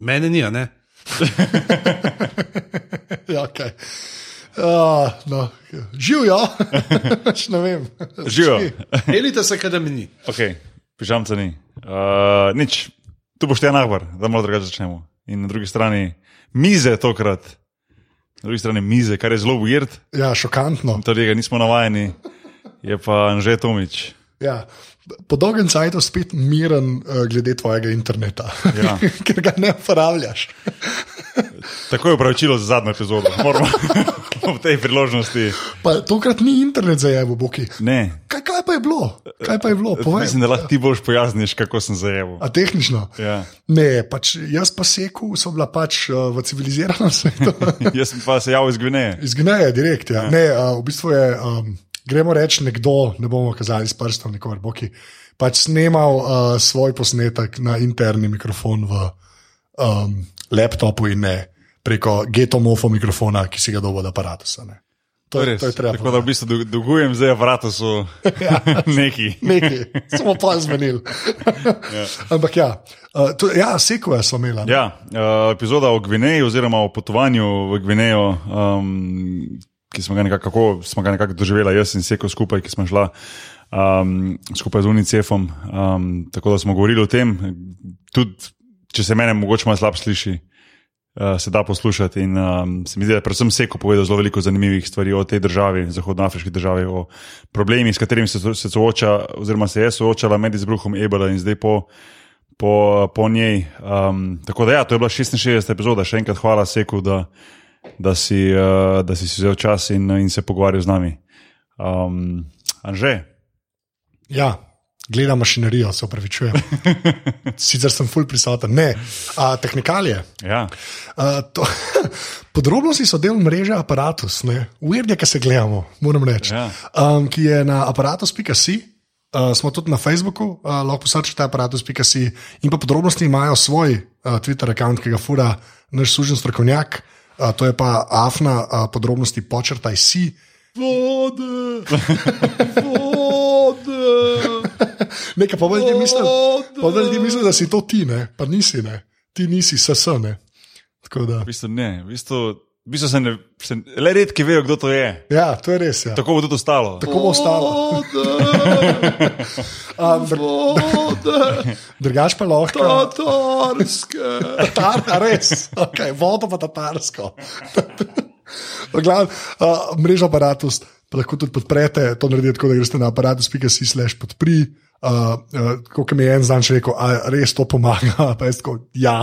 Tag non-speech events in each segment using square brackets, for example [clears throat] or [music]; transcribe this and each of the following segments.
Mene ni, a ne? [laughs] ja, okay. uh, no. [laughs] Živijo, ne vem. ja. [laughs] Živijo. Elite se, kaj da mi ni. Okay. Pižamca ni. Uh, nič, tu boš ti enak, da malo drugače začnemo. In na drugi strani mize tokrat, na drugi strani mize, kar je zelo ujert, Ja, šokantno. to tega nismo navajeni, je pa Anže Tomič. Ja. Po dolgem času spet miren, uh, glede tvojega interneta, Ja. [laughs] ker ga ne uporabljaš. Tako je upravičilo za zadnjo epizodo, moramo [laughs] ob tej priložnosti. Pa tokrat ni internet zajel, boki. Ne, Kaj, kaj pa je bilo? Kaj pa je bilo? Povej. Eh, mislim, da lahko ti boš pojasniš, kako sem zajeval. A tehnično? Ja. Ne, pač jaz pa seku, so bila pač uh, v civiliziranem [laughs] svetu. Jaz sem pa se javil iz Gvineje. Izgneje direkt. Ja. Ne, uh, v bistvu je, um, gremo reči, nekdo, ne bomo kazali s prstom, nekomer boki, pač snimal uh, svoj posnetek na interni mikrofon v um, laptopu in ne preko getomofo mikrofona, ki si ga dobil od aparata. To, je- Res. to je treba. Tako da v bistvu dol- dolgujem zdaj aparatu [laughs] Ja. [laughs] neki. Nekaj, [laughs] smo pa zmenili. ja. [laughs] Ampak ja, uh, to, ja sekve so imela. ne? Ja, uh, epizoda o Gvineji, oziroma o potovanju v Gvinejo, um, ki smo ga nekako, kako smo ga nekako doživela, jaz in Seko skupaj, ki smo šla um, skupaj z UNICEF-om. Um, tako da smo govorili o tem, tudi če se mene mogoče malo slab sliši. Uh, se da poslušati, in um, se mi zdi, da je predvsem Seko povedal zelo veliko zanimivih stvari o tej državi, zahodnoafriški državi, o problemih, s katerimi se, so- se sooča, oziroma se je soočala med izbruhom Ebola in zdaj po po, po njej. Um, tako da, ja, to je bila 66. epizoda, še enkrat hvala Seku, da, da, si, uh, da si si vzel čas in, in se pogovarjal z nami. Um, Anže, Ja, gledam mašinerijo, se [laughs] upravičujem. Sicer sem full prisoten. Ne, a, tehnikalije. ja. A, to, [laughs] podrobnosti so del mreže Apparatus, uvernje, ki se gledamo, moram reči. Ja. Um, ki je na aparatus.si. Uh, smo tudi na Facebooku, uh, lahko posrčite aparatus.si in pa podrobnosti imajo svoj uh, Twitter račun, ki ga fura naš sužen strokovnjak, uh, to je pa afna uh, podrobnosti počrtaj si. Vode, vode. Nekaj pa veljdi mislim, pa veljdi mislim, da si to ti, ne? pa nisi, ne? ti nisi sesane. V bistvu ne, v bistvu, v bistvu se ne, se, le redki vejo, kdo to je. Ja, to je res. Ja. Tako bo tudi ostalo. Tako bo ostalo. A, dr Vode, drugač pa lahko. tatarske. Tatar, a res, okay, vodo pa tatarsko. V glavnem, uh, mreža aparatus, pa lahko tudi podprete, to naredite tako, da greste na aparatus.si slash podpri. Uh, uh, Kot mi je en znanč rekel, a res to pomaga, [laughs] pa jaz tako, ja,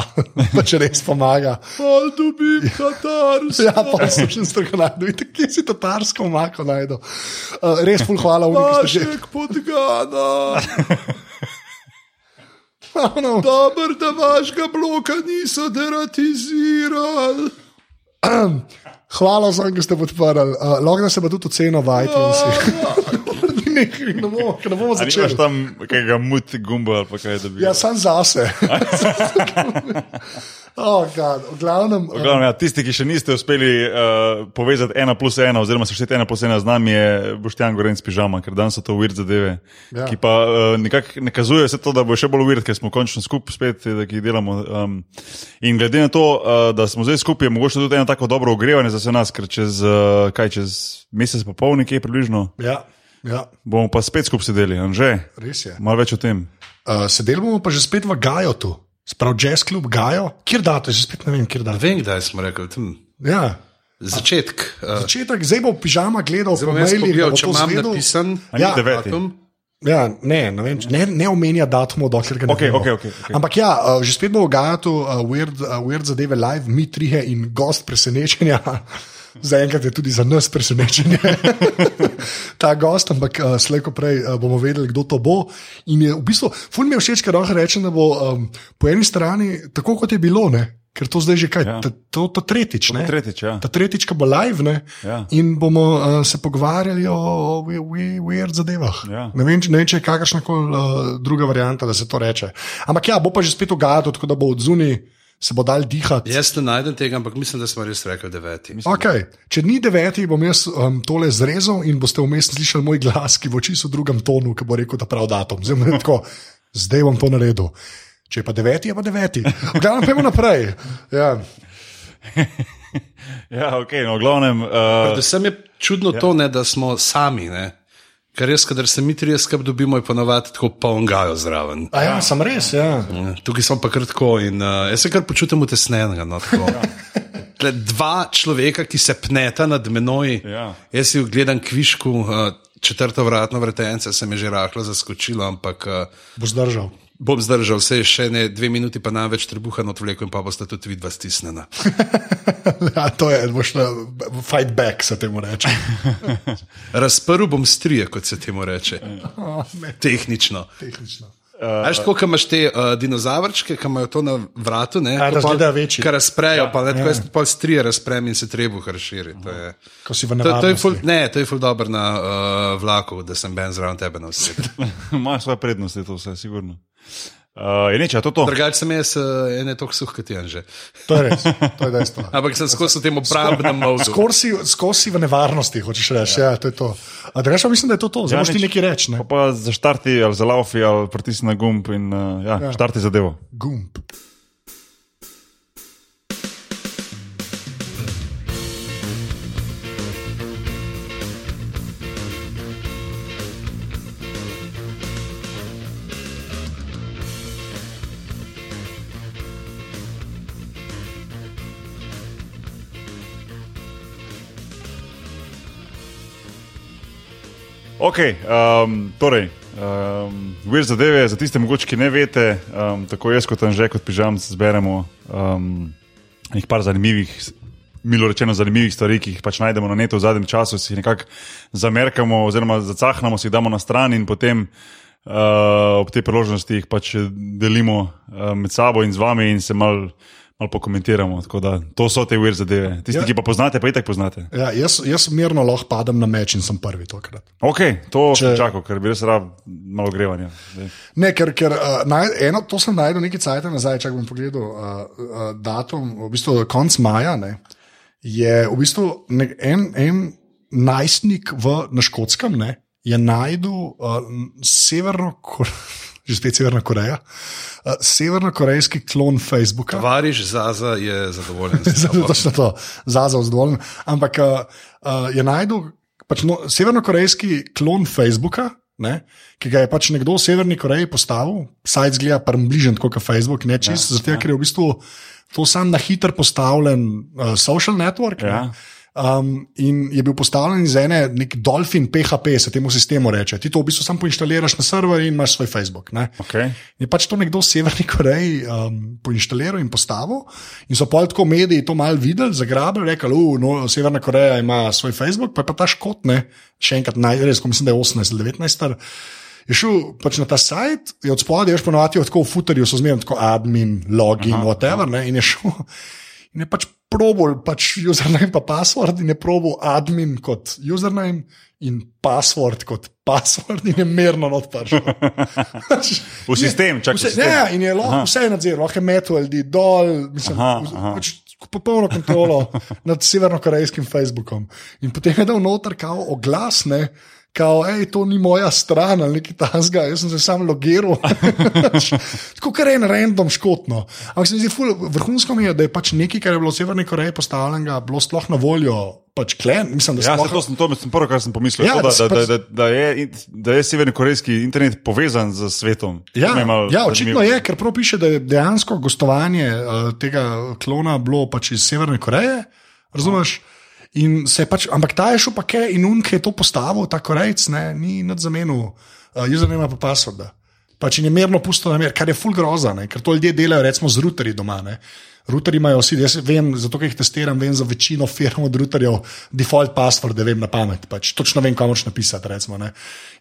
pač res pomaga. Pol dobim tatarske. Ja, pa sem še strokovnjak, vidite, kje si tatarsko omako najdu. Uh, res ful hvala, unik ste že. Pašek podgana. Ravno. Dobro, da vašega bloka niso deratizirali. [clears throat] Hvala vsem, ki ste podprli. Uh, Lahko da se pa tudi oceno v Ja, [laughs] iTunesih. ne, ne bomo, ker ne bomo Ali imaš začeli. tam kakega mut gumba ali pa kaj, da bi. Ja, sam [laughs] zase. oh, God. V glavnem, V uh, Glavnem, ja, tisti, ki še niste uspeli uh, povezati ena plus ena, oziroma sešteti ena plus ena z nami, je Boštjan Gorenc pižama, ker danes so to weird zadeve, Ja. ja. ki pa uh, nekako nakazujejo se to, da bo še bolj weird, ker smo končno skupaj spet, eh, da ki delamo. Um, in glede na to, uh, da smo zdaj skupaj, je mogoče tudi eno tako dobro ogrevanje za vse nas, ker čez, uh, kaj, čez mesec pa pol nekje približno ja, ja, bomo pa spet skupaj sedeli. Anže, res je. malo več o tem. Uh, sedeli bomo pa že spet v Gajotu, sprav jazz klub Gajo. Kjer date, že spet ne vem, kjer date. Vem, kdaj smo rekli, hm, Ja. začetek. eh, Začetek, zdaj bo pižama gledal, Zdaj bom jaz pogledal, če imam napisan. A ni Ja, deveti? datum. Ja, ne, ne, vem, če- ne, ne omenja datumov, dokler ga ne Okej, vemo. okej, okej, okej. Ampak ja, uh, že spet bo v Gajatu uh, weird, uh, weird zadeve live, mi trije in gost presenečenja. [laughs] Zaenkrat je tudi za nas presenečenje [laughs] ta gost, ampak uh, slejko prej uh, bomo vedeli, kdo to bo. In je v bistvu, ful mi je všeč, ker lahko rečem, da bo um, po eni strani tako, kot je bilo, ne? ker to zdaj že kaj, ja. Ja. ta, to, to tretjič. ne? Tretjič, ja. Ta tretjič, ko bo live, ne, Ja. in bomo uh, se pogovarjali o, o we- we- weird zadevah. Ja. Ne, vem, če- ne vem, če je kakršna koli uh, druga varianta, da se to reče. Ampak ja, bo pa že spet ugajato, tako da bo od zunaj se bo dal dihati. Jaz ne najdem tega, ampak mislim, da smo res rekli deveti. Okay. Če ni deveti, bom jaz um, tole zrezal in boste vmes slišali moj glas, ki bo čisto v drugem tonu, ki bo rekel, da prav datum. Zdaj, bom tako, zdaj bom to naredil. Če je pa deveti, je pa deveti. Glavno, pojmo naprej. Ja. Ja, ok, no, v glavnem. Uh, Predvsem je čudno ja. to, ne, da smo sami. Ne? Ker res, kadar se mi trije skrb dobimo, je ponovadi tako poln gajo zraven. A ja, sem res, ja. Ja, Tukaj smo pa krtko in uh, jaz se kar počutim utesnenega. No, tako. Tle dva človeka, ki se pneta nad menoj, Ja. jaz si gledam kvišku, uh, četrto vratno vretence, se mi je že rahlo zaskočilo, ampak uh, Bo zdržal. bom zdržal, vse je še ne dve minuti, pa največ trebuha not vleko in pa boste tudi vidva stisnjena. [laughs] ja, to je, boš na fight back, se temu reče. Razprl bom strije, kot se temu reče, Oh, ne, tehnično. tehnično. Veš, koliko imaš te uh, dinozavrčke, ki imajo to na vratu, ne? Ko Ja, da pol- izgledajo večji. Kar razprejo, ja, pa ne, ja. pa strije razprem in se treba razširi. To je, Ko si v to, to je nevarnosti. ful, ne, to je ful dobro na uh, vlaku, da sem ben zraven tebe na vse. Imajo svoje prednosti, to vse, sigurno. Uh, je neče, a to to. Drugače sem jaz uh, ene tok suh, kot je že. To je res, to je dejstvo. Ampak sem skozi v tem obrambnem modu. Skor si, skor si v nevarnosti, hočeš reči. Ja, to je to. A da rečeš, mislim, da je to to. Zdaj Ja, moraš ti nič. nekaj reči, ne? Pa, pa zaštarti ali zalaufi ali pritisni na gumb in uh, ja, ja. štarti zadevo. Gumb. Ok, um, torej, um, vir zadeve, za tiste, mogoče, ki ne veste, um, tako jaz kot Anže, kot pižamc, zberemo um, nekaj zanimivih, milo rečeno, zanimivih stvari, ki jih pač najdemo na netu v zadnjem času, si jih nekako zamerkamo, oziroma zacahnemo, si jih damo na stran in potem. Uh, ob tej priložnosti jih pač delimo uh, med sabo in z vami, in se malo mal pokomentiramo. Tako Da, to so te uvir zadeve. Tisti, Ja. ja. ki pa poznate, pa itak poznate. Ja, jaz, jaz mirno lahko padem na meč in sem prvi tokrat. Ok, to Če- Če... čakam, ker bi res rad malo ogrevanja. Zdaj. Ne, ker, ker uh, naj, eno, to sem najdel nekaj cajt nazaj, če bom pogledal uh, uh, datum, v bistvu konc maja, ne, je v bistvu nek, en, en najstnik v, na škotskem, ne, je najdel uh, m, severno, Kor- [laughs] že spet Severna Koreja, uh, severnokorejski klon Facebooka. Variš Zaza je zadovoljen. s [laughs] Zato sabo. točno to, zazel zadovoljen. Ampak uh, uh, je najdel pač no, severnokorejski klon Facebooka, ne, ki ga je pač nekdo v Severni Koreji postavil, sajt zgleda pa bližen kot Facebook, ne čist, ja, zato ja. ker je v bistvu to sam na hitro postavljen uh, social network. Ja. Ne, Um, in je bil postavljen iz ene, nek Dolphin PHP, se temu sistemu reče. Ti to v bistvu samo poinštaliraš na server in imaš svoj Facebook. Ne? Okay. Je pač to nekdo v Severni Koreji um, poinštaliral in postavil, in so pa tako mediji to malo videli, zagrabili, rekli, da no, Severna Koreja ima svoj Facebook, pa je pa ta škot, ne, še enkrat naj, res, ko mislim, da je 18 ali 19 star. Je šel pač na ta sajt, je od spodaj, veš, ponovadi je tako v footerju, so zmerno tako admin, login, aha, whatever, ne, in je šel. [laughs] In je pač probol, pač username pa password, in je probol admin kot username in password kot password, in je merno [laughs] odprl. Pač, V sistem, čakaj, Vse, v sistem. ne, in je lahko vse nadziral, lahko je metal ljudi dol, mislim, Aha, vz- aha. pač popolno kontrolo nad severnokorejskim Facebookom. In potem je dal noter kao oglasne. Kao, hej, to ni moja stran ali nekaj tasga, jaz sem se sam [laughs] logiral. Tako kar en random škotno. Ampak se mi zdi, ful, vrhunsko mi je, da je pač nekaj, kar je bilo v Severni Koreji postavljenega, bilo sploh na voljo, pač klen. Mislim, da Ja, sploh... se to, sem, to sem prvo, kar sem pomislil. Ja, Ja, da to, se da, da, pač- da, da, je, in- da je severnokorejski internet povezan z svetom. To me Ja, malo ja, zanimivo. očitno je, ker prav piše, da je dejansko gostovanje uh, tega klona bilo pač iz Severne Koreje. Razumeš? In se je pač, ampak ta je šel pa kaj in unke je to postavil, ta korejc, ne, ni nad zamenil, uh, username pa pasvorda. Pač in je merno pusto na mer, kar je full groza, ne, ker to ljudje delajo, recimo z routerji doma. Ne. Routerji imajo vsi, jaz vem, zato ker jih testiram, vem za večino firm od routerjev, default password, da vem na pamet, pač točno vem, kam hočeš napisati. Recimo, ne.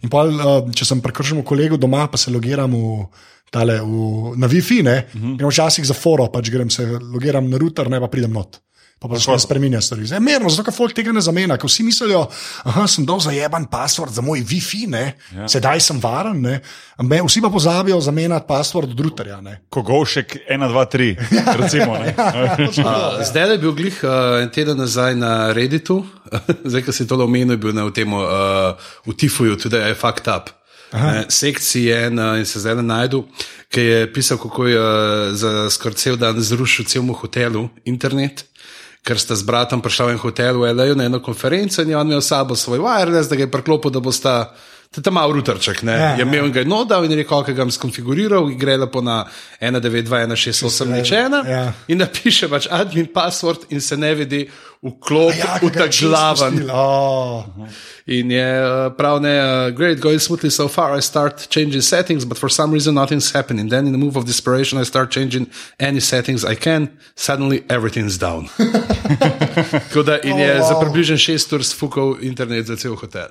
in pa, če sem prekršil kolegu doma, pa se logiram v tale, v, na Wi-Fi, ne, uh -huh. včasih za foro, pač grem se logiram na router, ne pa pridem not. Pa pa se ne spremenja stvari. Zdaj, merno, zato ker folk tega ne zamena, ker vsi mislijo, da sem dal zajeban pasvord za moj Wi-Fi, ne, ja. sedaj sem varen. Ne, Me, vsi pa pozabijo zamenjati pasvord od routerja. ne. [laughs] Kogovšek 1, 2, 3. Recimo, ne. Ja. Uh, Zdaj je bil glih uh, en teden nazaj na [laughs] Redditu, zdaj, ki si to omenil, je bil na v tem uh, v Tifuju, tudi je fucked up. eh, sekcije na, in se zdaj ne najdu, ki je pisal, kako je eh, za skoraj cel dan zrušil celemu hotelu internet. Ker sta z bratom prišla v en hotel v L.A. na eno konferenco in je on imel s sabo svoj wireless, da ga je priklopil, da bosta to je tam malo rutarček. Ne? Ja, je imel in ga je nodal in je rekel, ki ga je skonfiguriral, in gre lepo na 192.168 rečena Ja. in napiše pač admin password in se ne vidi vklop, [laughs] Ja, ja, ki ga je čist utaklavan. spustili, oh. In je uh, prav ne, uh, great, going smoothly so far. I start changing settings, but for some reason nothing's happening. Then, in a move of desperation, I start changing any settings I can. Suddenly, everything's [laughs] down. Tako da in je Oh, oh, wow. wow. za približno šest ur sfukal internet za cel hotel.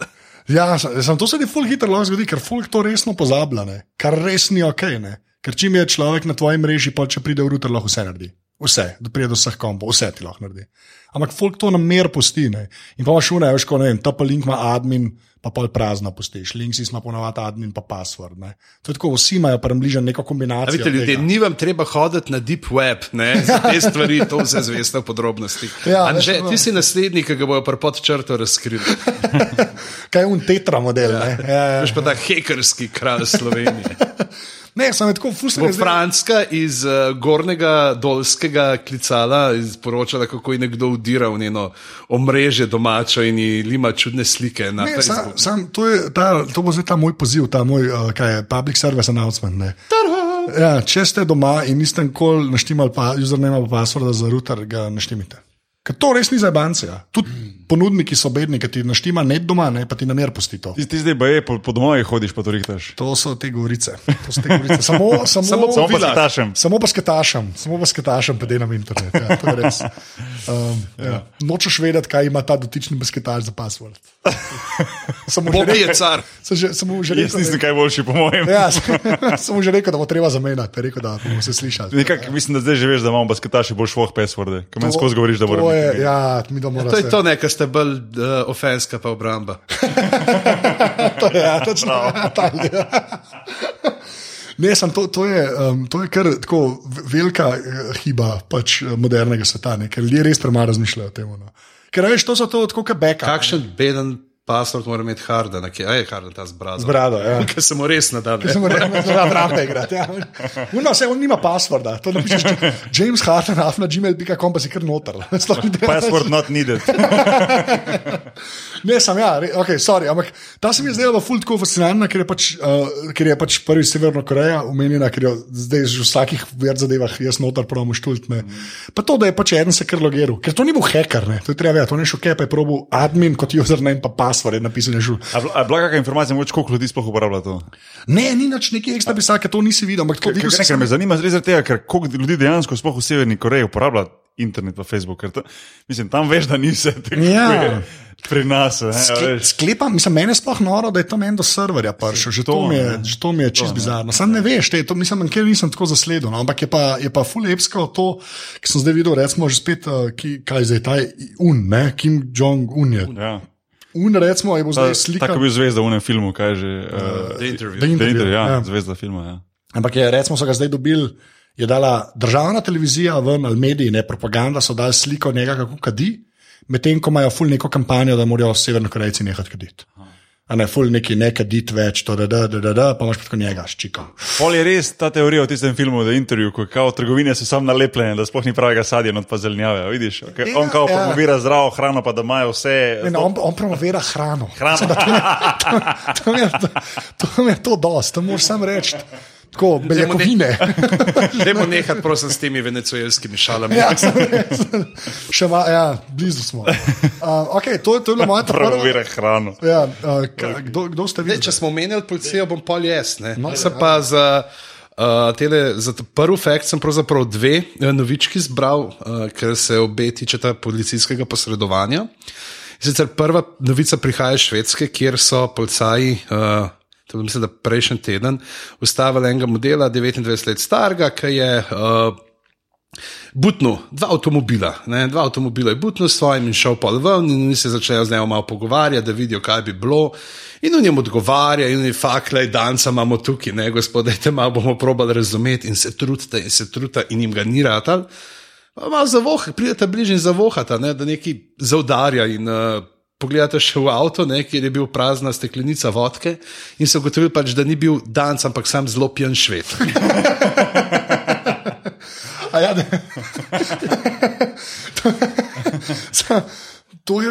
Ja, sa- samo to se ti fulg hitro lahko zgodi, ker fulg to resno pozablja, ne. kar res ni ok. Ne. Ker čim je človek na tvoji mreži, pa če pride v router, lahko vse naredi. Vse, da pride do vseh kompov, vse ti lahko naredi. Ampak folk to namer pusti. Ne. In pa imaš unaj, veš, ko ne vem, ta pa link ima admin, pa pol prazno pustiš. Link si ima ponovadi admin, pa password. Ne. To je tako, vsi imajo približno A neko kombinacijo. vidite, ljudje, tega. ni vam treba hoditi na deep web, [laughs] ne, za te stvari, to vse zveste v podrobnosti. Ja, Ja, Anže, veš, no. ti si naslednji, ki ga bojo pa pod črto razkrili. Kaj je un tetra model? Ne, ja, ja. Veš pa ta hekerski kralj [laughs] Slovenije. ne samo je tako, fusne. Bo Franska iz uh, Gornjega Dolskega klicala in sporočala, kako je nekdo udiral v njeno omrežje domačo in ji lima čudne slike na Ne, sam, Facebooku. sam, to, je, ta, to bo zdaj ta moj poziv, ta moj uh, kaj je, public service announcement. ne. Ja, če ste doma in niste nikoli naštimali, pa username ali pasvorda za router, ga naštimite. Ker to res ni za banke. Tudi ponudniki so bedni, ki ti naštima ne doma, ne pa ti namer pusti to. Ti, ti zdaj baje po, po domovih hodiš, pa to rihtaš. To so te govorice. To so [laughs] te govorice. Samo, samo, Samo Samo pa Vilar. tašem. Samo basketašem, samo basketašem, pa delam internet. Ja, to je res. um, ja. Nočeš vedeti, kaj ima ta dotični basketaš za [laughs] password. Samo že Bog rekel- je car. sem že- sem mu že Jaz rekel, nisem kaj boljši, po mojem. [laughs] Ja, sem [laughs] mu že rekel, da bo treba zamenjati, rekel, da bomo se slišali. Nekak, mislim, da zdaj že veš, da imamo basketaši bolj švoh pesvorde. Ko meni skozi govoriš, da To moraš. je, Ja, mi da moramo. To je to, ne, kar ste bolj uh, ofenska pa obramba. to je, ja, točno, ja, [laughs] ta ideja. Ne, sem, to, to, je, um, to je kar tako v- velika uh, hiba pač, eh, modernega sveta, ne? ker ljudje res premalo razmišljajo o tem. No. Ker veš, to so to tako kot beka. Kakšen beden password mora imeti Harden, a kje- a je Harden ta zbral? Zbrado, [laughs] ja. Ker se mu res ne da. ne. Samo rekel, da je drahta igrati. Ja. No, se on nima pasvorda, to napišeš. če- James Harden, afna gmail.com pa si kar noter. [laughs] Sploh ni treba- Password not needed. Ne, sem ja, re, okay, sorry, ampak ta se mi je zdela ful tako fascinantna, ker je pač, uh, ker je pač prvi Severna Koreja omenjena, ker jo zdaj že v vsakih več zadevah jaz notar pravim štultne. Pa to, da je pač eden se kar logiral, ker to ni bil hacker, ne, to je treba vedeti, to ni šel kaj, pa je probil admin kot username pa password, je napisal je žul. A bl- a je bila kakšna informacija, moč koliko ljudi sploh uporablja to? Ne, ni nič neki ekstra pisal, ker to nisi videl, ampak tako Ker, videl ker, si ker me zanima res zaradi tega, ker koliko ljudi dejansko sploh v Severni Koreji uporablja internet pa Facebook. Ker to, mislim, tam veš, da ni vse tako. Ja. kot je Pri nas. Ne, a Skle- Ja, veš. Sklepam, mislim, meni je sploh noro, da je tam en do serverja prišel. Že to, To, mi je, ne. že to mi je čist bizarno. Sam ne veš, te, to mislim, kjer nisem tako zasledil. No, ampak je pa, je pa fulepsko to, ki sem zdaj videl, recimo, že spet, eh, ki, kaj zdaj, ta je un, ne, Kim Jong-un je. Ja. Un, recimo, je bo Ta- zdaj slika. Tako je bil zvezda v enem filmu, kaj že. Uh, The interview. The Interview, The Interview, ja, ja. ja. Zvezda filma. Ja. Ampak je, recimo, so ga zdaj dobili, je dala državna televizija ven ali mediji, ne propaganda, so dali sliko njega, kako kadi, medtem ko imajo ful neko kampanjo, da morajo severnokorejci nehati kaditi. A ne, ful neki ne kaditi več, to da, da, da, da, da, pa imaš pa tako njega s čikom. Pol je res ta teorija v tistem filmu, da je intervju, ko kao trgovine so sam nalepljene, da sploh ni pravega sadja, not pa zelenjave. a Vidiš, okay? Ja, on kao ja. promovira zdravo hrano, pa da imajo vse. Ne, no, on, on promovira hrano. Hrano. To mi je to, to, mi je to dosti, to moraš sam reči. Tako, beljakovine. Dajmo nehati, prosim, s temi venezuelskimi šalami. Ja, sem res. Še malo, ja, blizu smo. Uh, okay, to, to je bila moja ta prva. Promovira hrano. Ja, uh, ka, kdo, kdo ste vi? Ne, če smo omenjali policijo, bom pol jaz. No, sem pa za, uh, tele, za ta prvi fakt sem pravzaprav dve eh, novički zbral, uh, ker se obe tičeta policijskega posredovanja. In Sicer prva novica prihaja iz Švedske, kjer so policaji. Uh, To je mislim, da prejšnji teden ustavili enega modela, 29 let starega, ki je uh, Butno, dva avtomobila, ne, dva avtomobila je butno s svojim in šel pa ven, in oni se začnejo z njim malo pogovarjati, da vidijo, kaj bi bilo. In on jim odgovarja, in oni fakle, danca imamo tukaj, ne, gospodajte, malo bomo probali razumeti in se trudite, in se trudite, in jim ga ni ratal. Pa Malo zavoha, pridete bližje in zavohata, ne, da neki zaudarja in uh, pogledate še v avto, ne, kjer je bil prazna steklenica vodke in so ugotovili, pač, da ni bil danc, ampak sam zelo pijan šved. [laughs] A ja, da- Sa- to je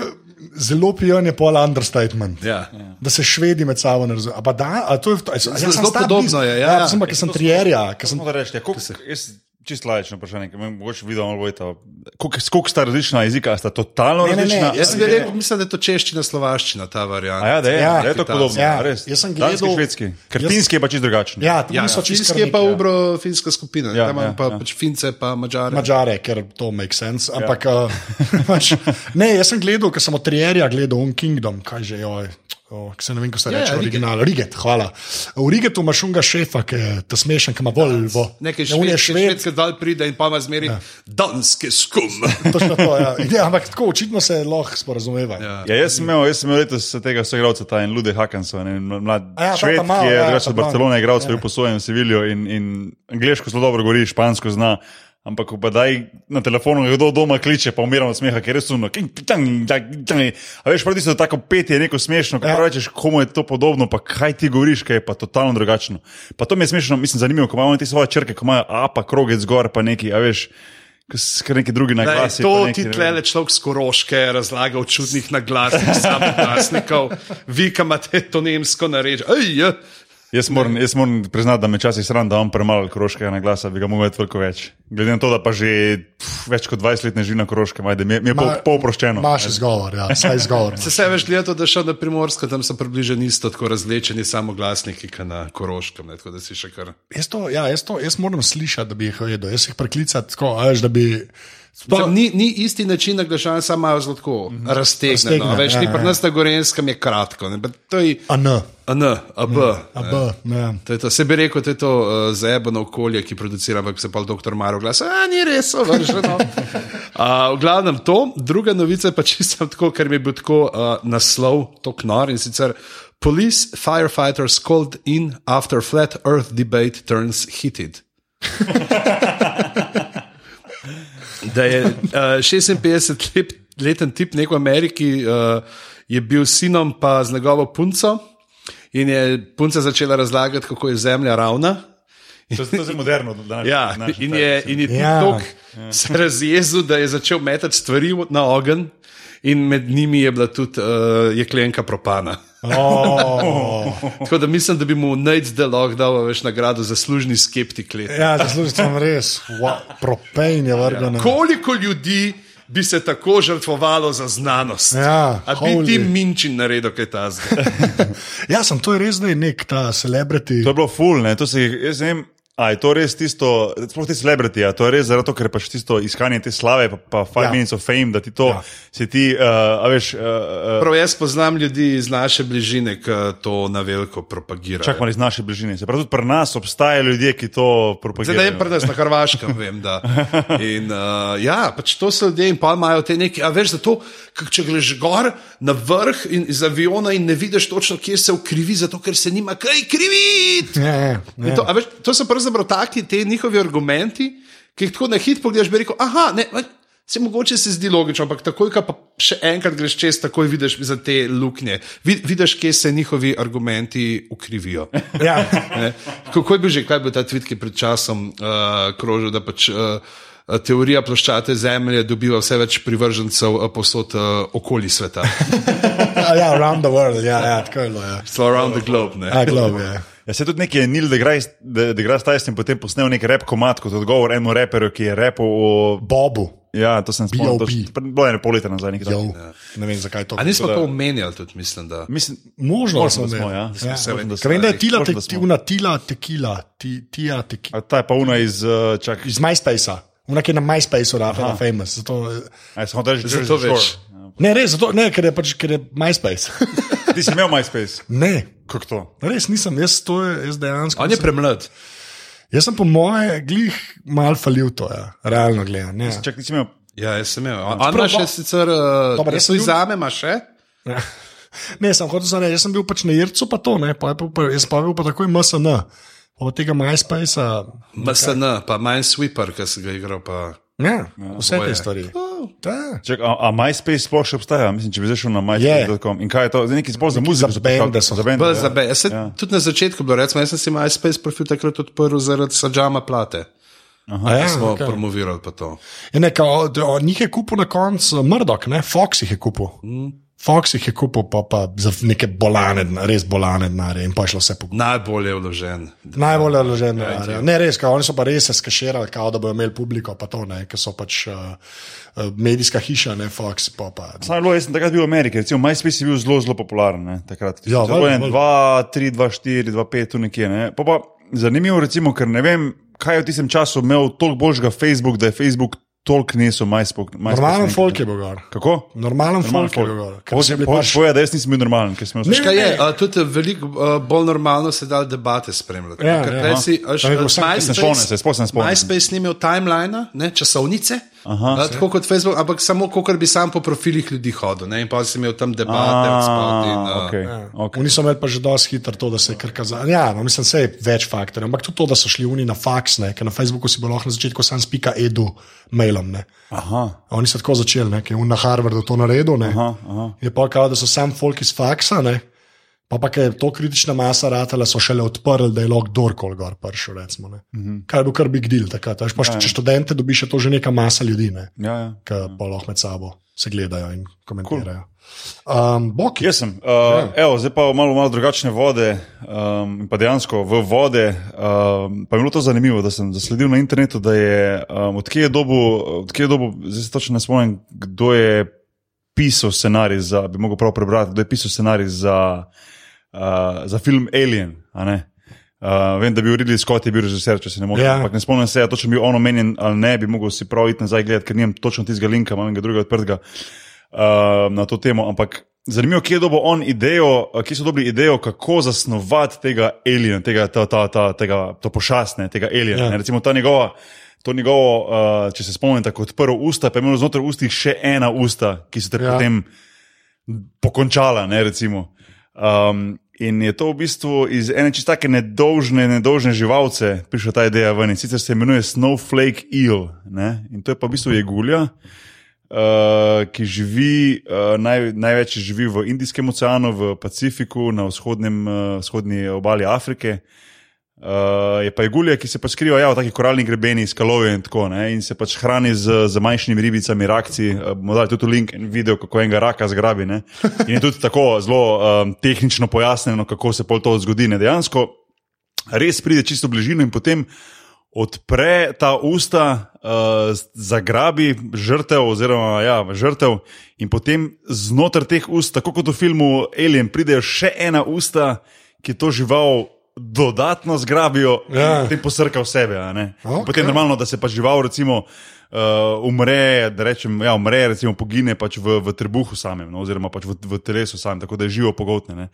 zelo pijan, je pol understatement. Ja. Da se švedi med sabo ne razumejo. A pa da, a to je a, ja, zelo podobno je, ja. Ja, sem pa, ker sem trierja, ker sem Samo da rečete, ja, koliko se. Jaz čisto laično vprašanje, ker me mogoče videl malo vojta. Koliko koliko sta različna jezika, a sta totalno ne, ne, različna? Jaz sem rekel, mislim, da je to češčina, slovaščina, ta A varianta. ja, da je, Ja, da je to kitajsko. podobno. Ja, Ja, res. jaz sem Danski, gledal- švedski. Ker finski je pa čisto drugačen. Ja, tam Ja, so čisto finski je pa krniki, ja. ubro-finska skupina, Ja, ja, tam imamo ja, pa ja. ja. pač fince, pa mačare. Mačare, ker to makes sense. Ampak, ja. [laughs] pač, ne, jaz sem gledal, ker sem od Trierja gledal On Kingdom, kaj že joj. O, se ne vem, kako se Ja, reče ja, ja, Riget. original. Riget, hvala. V Rigetu imaš unga šefa, ki je ta smešen, ki ima Volvo. Nekaj Ja, on je švedske, švedske dal pride in pa ima zmeri ja. danske skum. Točno to, ja. [laughs] ja, ampak tako očitno se lahko sporazumevajo. Ja. Ja, jaz sem imel, jaz sem imel letos tega soigralca, ta en Lude Hakanson, en mlad A ja, ta šved, ta malo, ki je ja, drugače od ta Barcelone igral, svoj posojen v Seviljo in, in angliško zelo dobro govori, špansko zna. Ampak, ko pa daj na telefonu, kdo doma kliče, pa umiramo od smeha, ker je res umno. A veš, pravi so tako petje, neko smešno, ko Ja. ja. rečeš, komu je to podobno, pa kaj ti govoriš, kaj je pa totalno drugačno. Pa to mi je smešno, mislim, zanimivo, ko imamo te svoje črke, ko imajo A, pa krogec zgor, pa neki, a veš, ko s- kar neki drugi na Daj, glas. to ti tlele človek z koroške razlaga v čudnih naglasnih samoglasnikov, vi, ki imate to nemsko nareč. ja, Jaz moram, jaz moram priznati, da me včasih sram, da imam premalo koroškega na glas, bi ga mogel imeti veliko več. Glede na to, da pa že pf, več kot 20 let ne živim na koroškem, ajde, mi je, mi je pol, pol oproščeno. Imaš izgovor, no, ja, vsaj izgovor. Se se veš gledati, da še na primorskem, tam so približno isto tako razlečeni samoglasniki, kot na koroškem, ne, tako da si še kar. [laughs] Jaz, to, ja, jaz, to, jaz moram slišati, da bi jih jedel. Jaz jih preklicam tako, a veš, da bi. Mislim, ni, ni isti način naglašanja, samo malo zelo tako raztegnjeno. Raztegnjeno, a Veš, Mhm. ja, ni pri ja. nas na gorenskem je kratko, ne, pa to je A ne, a n, a b. a b. Ne. To je to. Se bi rekel, da je to uh, zaebano okolje, ki producira, ampak se pa doktor Maro glasa, a ni res, vršeno. uh, v glavnem to, druga novica je pa čisto tako, ker mi je bil tako uh, naslov, to knor in sicer Police firefighters called in after flat earth debate turns heated. da je uh, 56-leten tip nek v Ameriki uh, je bil s sinom, pa z njegovo punco. In je punca začela razlagati, kako je zemlja ravna. To je- to je zelo moderno, da danes. Ja, in je, in je Ja. ja. tako se razjezil, da je začel metati stvari v- na ogenj, in med njimi je bila tudi uh, jeklenka propana. Oh. Tako da mislim, da bi mu Nate Delog dal več nagrado za služni skeptik leta. Ja, zaslužil sem res. Wow. Propein je vrgano. Koliko ljudi bi se tako žrtvovalo za znanost? Ja, A bi ti holy. [laughs] Ja, [laughs] pač eh, eh, ja, pač Ja, Ja. eh, pač, eh, no. ja, ja. Ja. Ja. pač- ja. pač Ja, ja, eh, Ja. Ta. Čak, a, a MySpace sploh še obstaja? Mislim, če bi zdaj šel na MySpace.com. In kaj je to? Zdaj neki sploh za muziko. za bende so. Za bende, Bolj ja. za B. Jaz sem ja. tudi na začetku bil, recimo, jaz sem si MySpace profil takrat odprl zaradi Sajama plate. A Ja, Smo okay. okay. promovirali pa to. Je neka, od, od njih je kupil na koncu Mrdok, ne? Fox jih je kupil. Fox jih je kupil, pa, pa za neke bolane, denar- res bolane denarje in pa je šlo vse po Najbolje je vložen. Najbolj ležen denar. Ne, res, kao, oni so pa res se skaširali, kao, da bodo imeli publiko, pa to ne, ker so pač uh, uh, medijska hiša, ne Fox, pa pa. Sam je bilo, jaz sem takrat bil v Ameriki, recimo MySpace je bil zelo, zelo popularen. Ne, takrat. Ja, to je valjda, 2, 3, 2, 4, 2, 5, tu nekje. Ne. Pa pa, zanimivo, recimo, ker ne vem, kaj je v tistem času imel toliko božjega Facebook, da je Facebook toliko nesel MySpace. MySpace Normalen nekaj. folk je bil gor. Kako? Normalen, normalen folk je bil gor. ker so Hočeš bili pač... pač- povedati, da jaz nisem bil normalen, ker sem imel Kaj je, a, tudi veliko a, bolj normalno se da debate spremljati. Ja, Ker ja. prej si, a, To je bilo vsak- MySpace- Se spomnim se, sploh se ne spomnim. MySpace ni imel timelina, ne, časovnice, Aha, a, tako kot Facebook, ampak samo, kot bi sam po profilih ljudi hodil. Ne, in pa si imel tam debate, Ah, od spodaj in, eh, a, okej, Okay. okej. Oni so imeli pa že dosti hitro to, da se je kar kazalo. Ja, no, mislim, se je več faktorjev, ampak tudi to, da so šli oni na faks, ne, ker na Facebooku si bil lahko na začetku sam spika edu mailom. Ne. Aha, Oni so tako začeli, ne, ker je on na Harvardu to naredil. Ne. aha, aha. Je pa kao, da so sam folk iz faksa, ne. pa pa ker je to kritična masa ratela, so šele odprli, da je lahko kdorkoli gor prišel. Recimo, ne. Mhm. Kaj je bil kar big deal takrat. a veš, Pa, če, če študente dobiš, je to že neka masa ljudi, ne, Ja, ja. ki pa lahko med sabo se gledajo in komentirajo. Um, Bok je. Jaz sem. Uh, ja. evo, zdaj pa v malo, malo drugačne vode, um, in pa dejansko v vode. Um, pa je bilo to zanimivo, da sem zasledil na internetu, da je um, odkje je dobo, odkje je dobo, zdaj se točno ne spomnim, kdo je pisal scenarij za, bi mogel prav prebrati, kdo je pisal scenarij za, uh, za film Alien. a ne. Uh, vem, da bi Ridley Scott je bil režiser, če se ne motim. Ja. Ampak ne spomnim se, ja, točno bil on omenjen ali ne, bi mogel si prav iti nazaj gledati, ker nimam točno tistega linka, imam ga drugega odprtega uh, na to temo. Ampak zanimivo, kje je dobil on idejo, eh, kje so dobili idejo, kako zasnovati tega alien, tega, ta, ta, ta, tega, to pošastne, tega alien. Ja. Ja. Recimo ta njegova. To njegovo, uh, če se spomnite, kot prvo usta, pa je imel znotraj ustih še ena usta, ki se te Ja. ja. potem pokončala. Ne, recimo. um, in je to v bistvu iz ene čisto tako nedolžne, nedolžne živalce prišla ta ideja ven. In sicer se imenuje Snowflake Eel. Ne? In to je pa v bistvu jegulja. Uh, ki živi, uh, naj, največ živi v Indijskem oceanu, v Pacifiku, na vzhodnem, uh, vzhodni obali Afrike. Uh, je pa jegulja, ki se pa skriva ja, v takih koralnih grebenih, skalovju in tako naprej, in se pač hrani z, z manjšimi ribicami, rakci. Uh, Morda je tudi link in video, kako enega raka zgrabi. Ne? In je tudi tako zelo um, tehnično pojasnjeno, kako se pol to zgodi. Ne? Dejansko res pride čisto bližino in potem odpre ta usta, uh, zagrabi žrtev, oziroma ja, žrtev, in potem znotraj teh ust, tako kot v filmu Alien, pridejo še ena usta, ki to žival. Dodatno zgrabijo Ja. in potem posrka v sebe. a ne. No, In Okej. Potem je normalno, da se pa žival, recimo, uh, umre, da rečem, ja, umre, recimo, pogine pač v, v trebuhu samem, no, oziroma pač v, v telesu samem, tako da je živo pogotne. ne.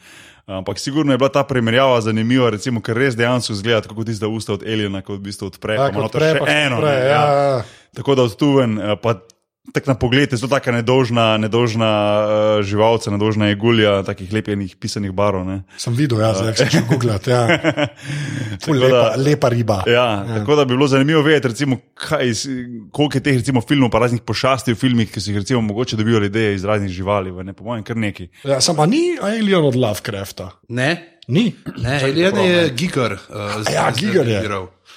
Ampak sigurno je bila ta primerjava zanimiva, recimo, ker res dejansko zgleda tako kot tista usta od Elijana, ko v bistvu odpre, Ja, pa ima noter še eno. Pre, ne, ja, ja. Tako da od tu ven, eh, pa tako na pogled, je zelo taka nedožna, nedožna uh, živalca, nedožna jegulja, takih lepljenih pisanih barov. ne. [laughs] Sem videl, ja, zdaj se že googlat. Ja. Ful Tako da- Lepa, lepa riba. Ja, ja. Tako da bi bilo zanimivo vedeti, recimo, kaj, iz- koliko je teh recimo, filmov, pa raznih pošasti v filmih, ki so jih recimo mogoče dobivali ideje iz raznih živali, v ne po mojem, kar neki. Ja, Sam pa ni Alien od Lovecrafta. ne, Ni. ne, Alien je Giger. Uh, A ja, Giger je.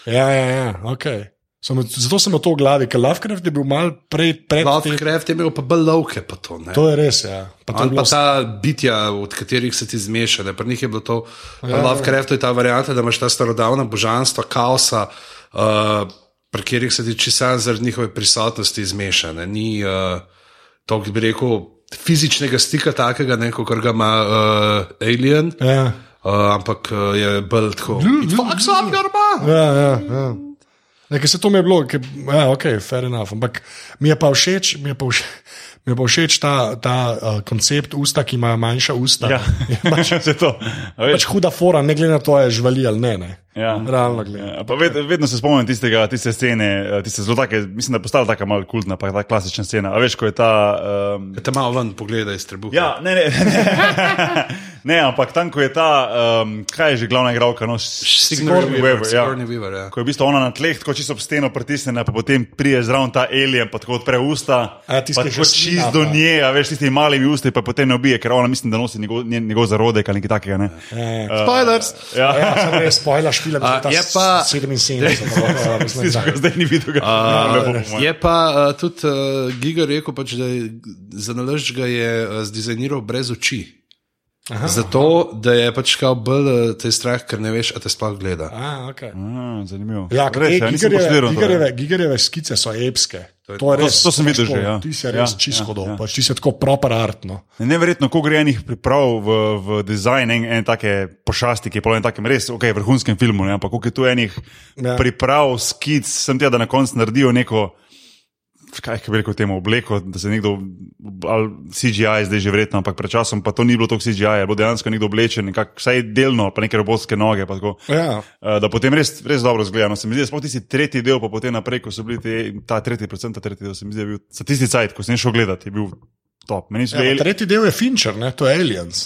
Ja, ja, ja ok. Sem, zato sem imel to v glavi, ker Lovecraft je bil mal prej pred tem. Lovecraft je imel pa belovke, pa to ne. To je res, ja. Pa to je On pa bilo ta bitja, od katerih se ti zmeša, ne? pri njih je bilo to, ja, Lovecraftu je ta varianta, da imaš ta starodavna božanstva, kaosa, uh, pri katerih se ti čisan zaradi njihove prisotnosti zmeša. Ne? Ni uh, to, ki bi rekel, fizičnega stika takega, ne, kot ga ima uh, Alien, uh, Ja, ampak uh, je bolj tako. It fucks up your mom! ja, ja. ja. Ne, ker se to mi je bilo, ker, ja, ok, fair enough. Ampak mi je pa všeč, mi je pa všeč, mi je pa všeč ta, ta uh, koncept usta, ki ima manjša usta. [laughs] Ja, pač vse to. A veš? Pač huda fora, ne glede na to, ali je živali ali ne. ne. Ja. Realno gledano. Ja, pa ved, vedno se spomnim tistega, tiste scene, eh, tiste zelo take, mislim, da je postala tako malo kultna, pa ta klasična scena. A veš, ko je ta. Um, Te malo ven, pogledaj iz trebuha. ja, ne, [laughs] ne, ne. Ne, ampak tam, ko je ta, um, kaj je že glavna igralka, no, Sigourney Weaver, Sigourney Weaver, ja. Ko je v bistvu ona na tleh, tako čisto ob steno pritisnjena, pa potem prije zraven ta alien, pa tako odpre usta, A, tisti, pa ki tako še slina, čist do pa. nje, a veš, tisti malimi usti, pa potem ne ubije, ker ona mislim, da nosi njegov, njen- njegov zarodek ali nekaj takega. Ne? Spoilers! E, Ja, ja [laughs] samo res spojila špila, A, da je pa- [laughs] 77. ampak, a, mislim, Tisto, da- kar Zdaj ni videl, kako Uh, je pa uh, tudi uh, Giga rekel, pač, da je za naložb ga je uh, zdizajniral brez oči. Aha. Zato, da je pač kao bolj uh, te strah, ker ne veš, a te sploh gleda. A, okay. Zanimivo. Ja, Res, ja, nisem Gigerjeve, pošliral. Gigerjeve, Gigerjeve skice so epske. To, je to- res, to sem videl pač že, to- ja. Ti si res Ja, ja, čisto ja, hodov, ja. ja. pač ti si tako proper no. artno. Neverjetno, koliko je enih priprav v, v dizajn, en, en take pošasti, ki je po enem takem res, ok, vrhunskem filmu, ne, ampak koliko je tu enih ja. Ja. priprav, skic, sem tja, da na koncu naredijo neko, kaj bi rekel temu, obleko, da se nekdo, ali CGI zdaj že verjetno, ampak pred časom pa to ni bilo toliko CGI, je bilo dejansko nekdo oblečen, nekak, vsaj delno, ali pa neke robotske noge, pa tako. Ja. Eh, Da potem res, res dobro zgleda. No, se mi zdi, da sploh tisti tretji del, pa potem naprej, ko so bili ti, ta tretji, predvsem ta tretji del, se mi zdi, da je bil, za tisti cajt, ko sem šel gledati, je bil top. Meni so Ja, bili pa tretji del je Fincher, ne? to je Aliens.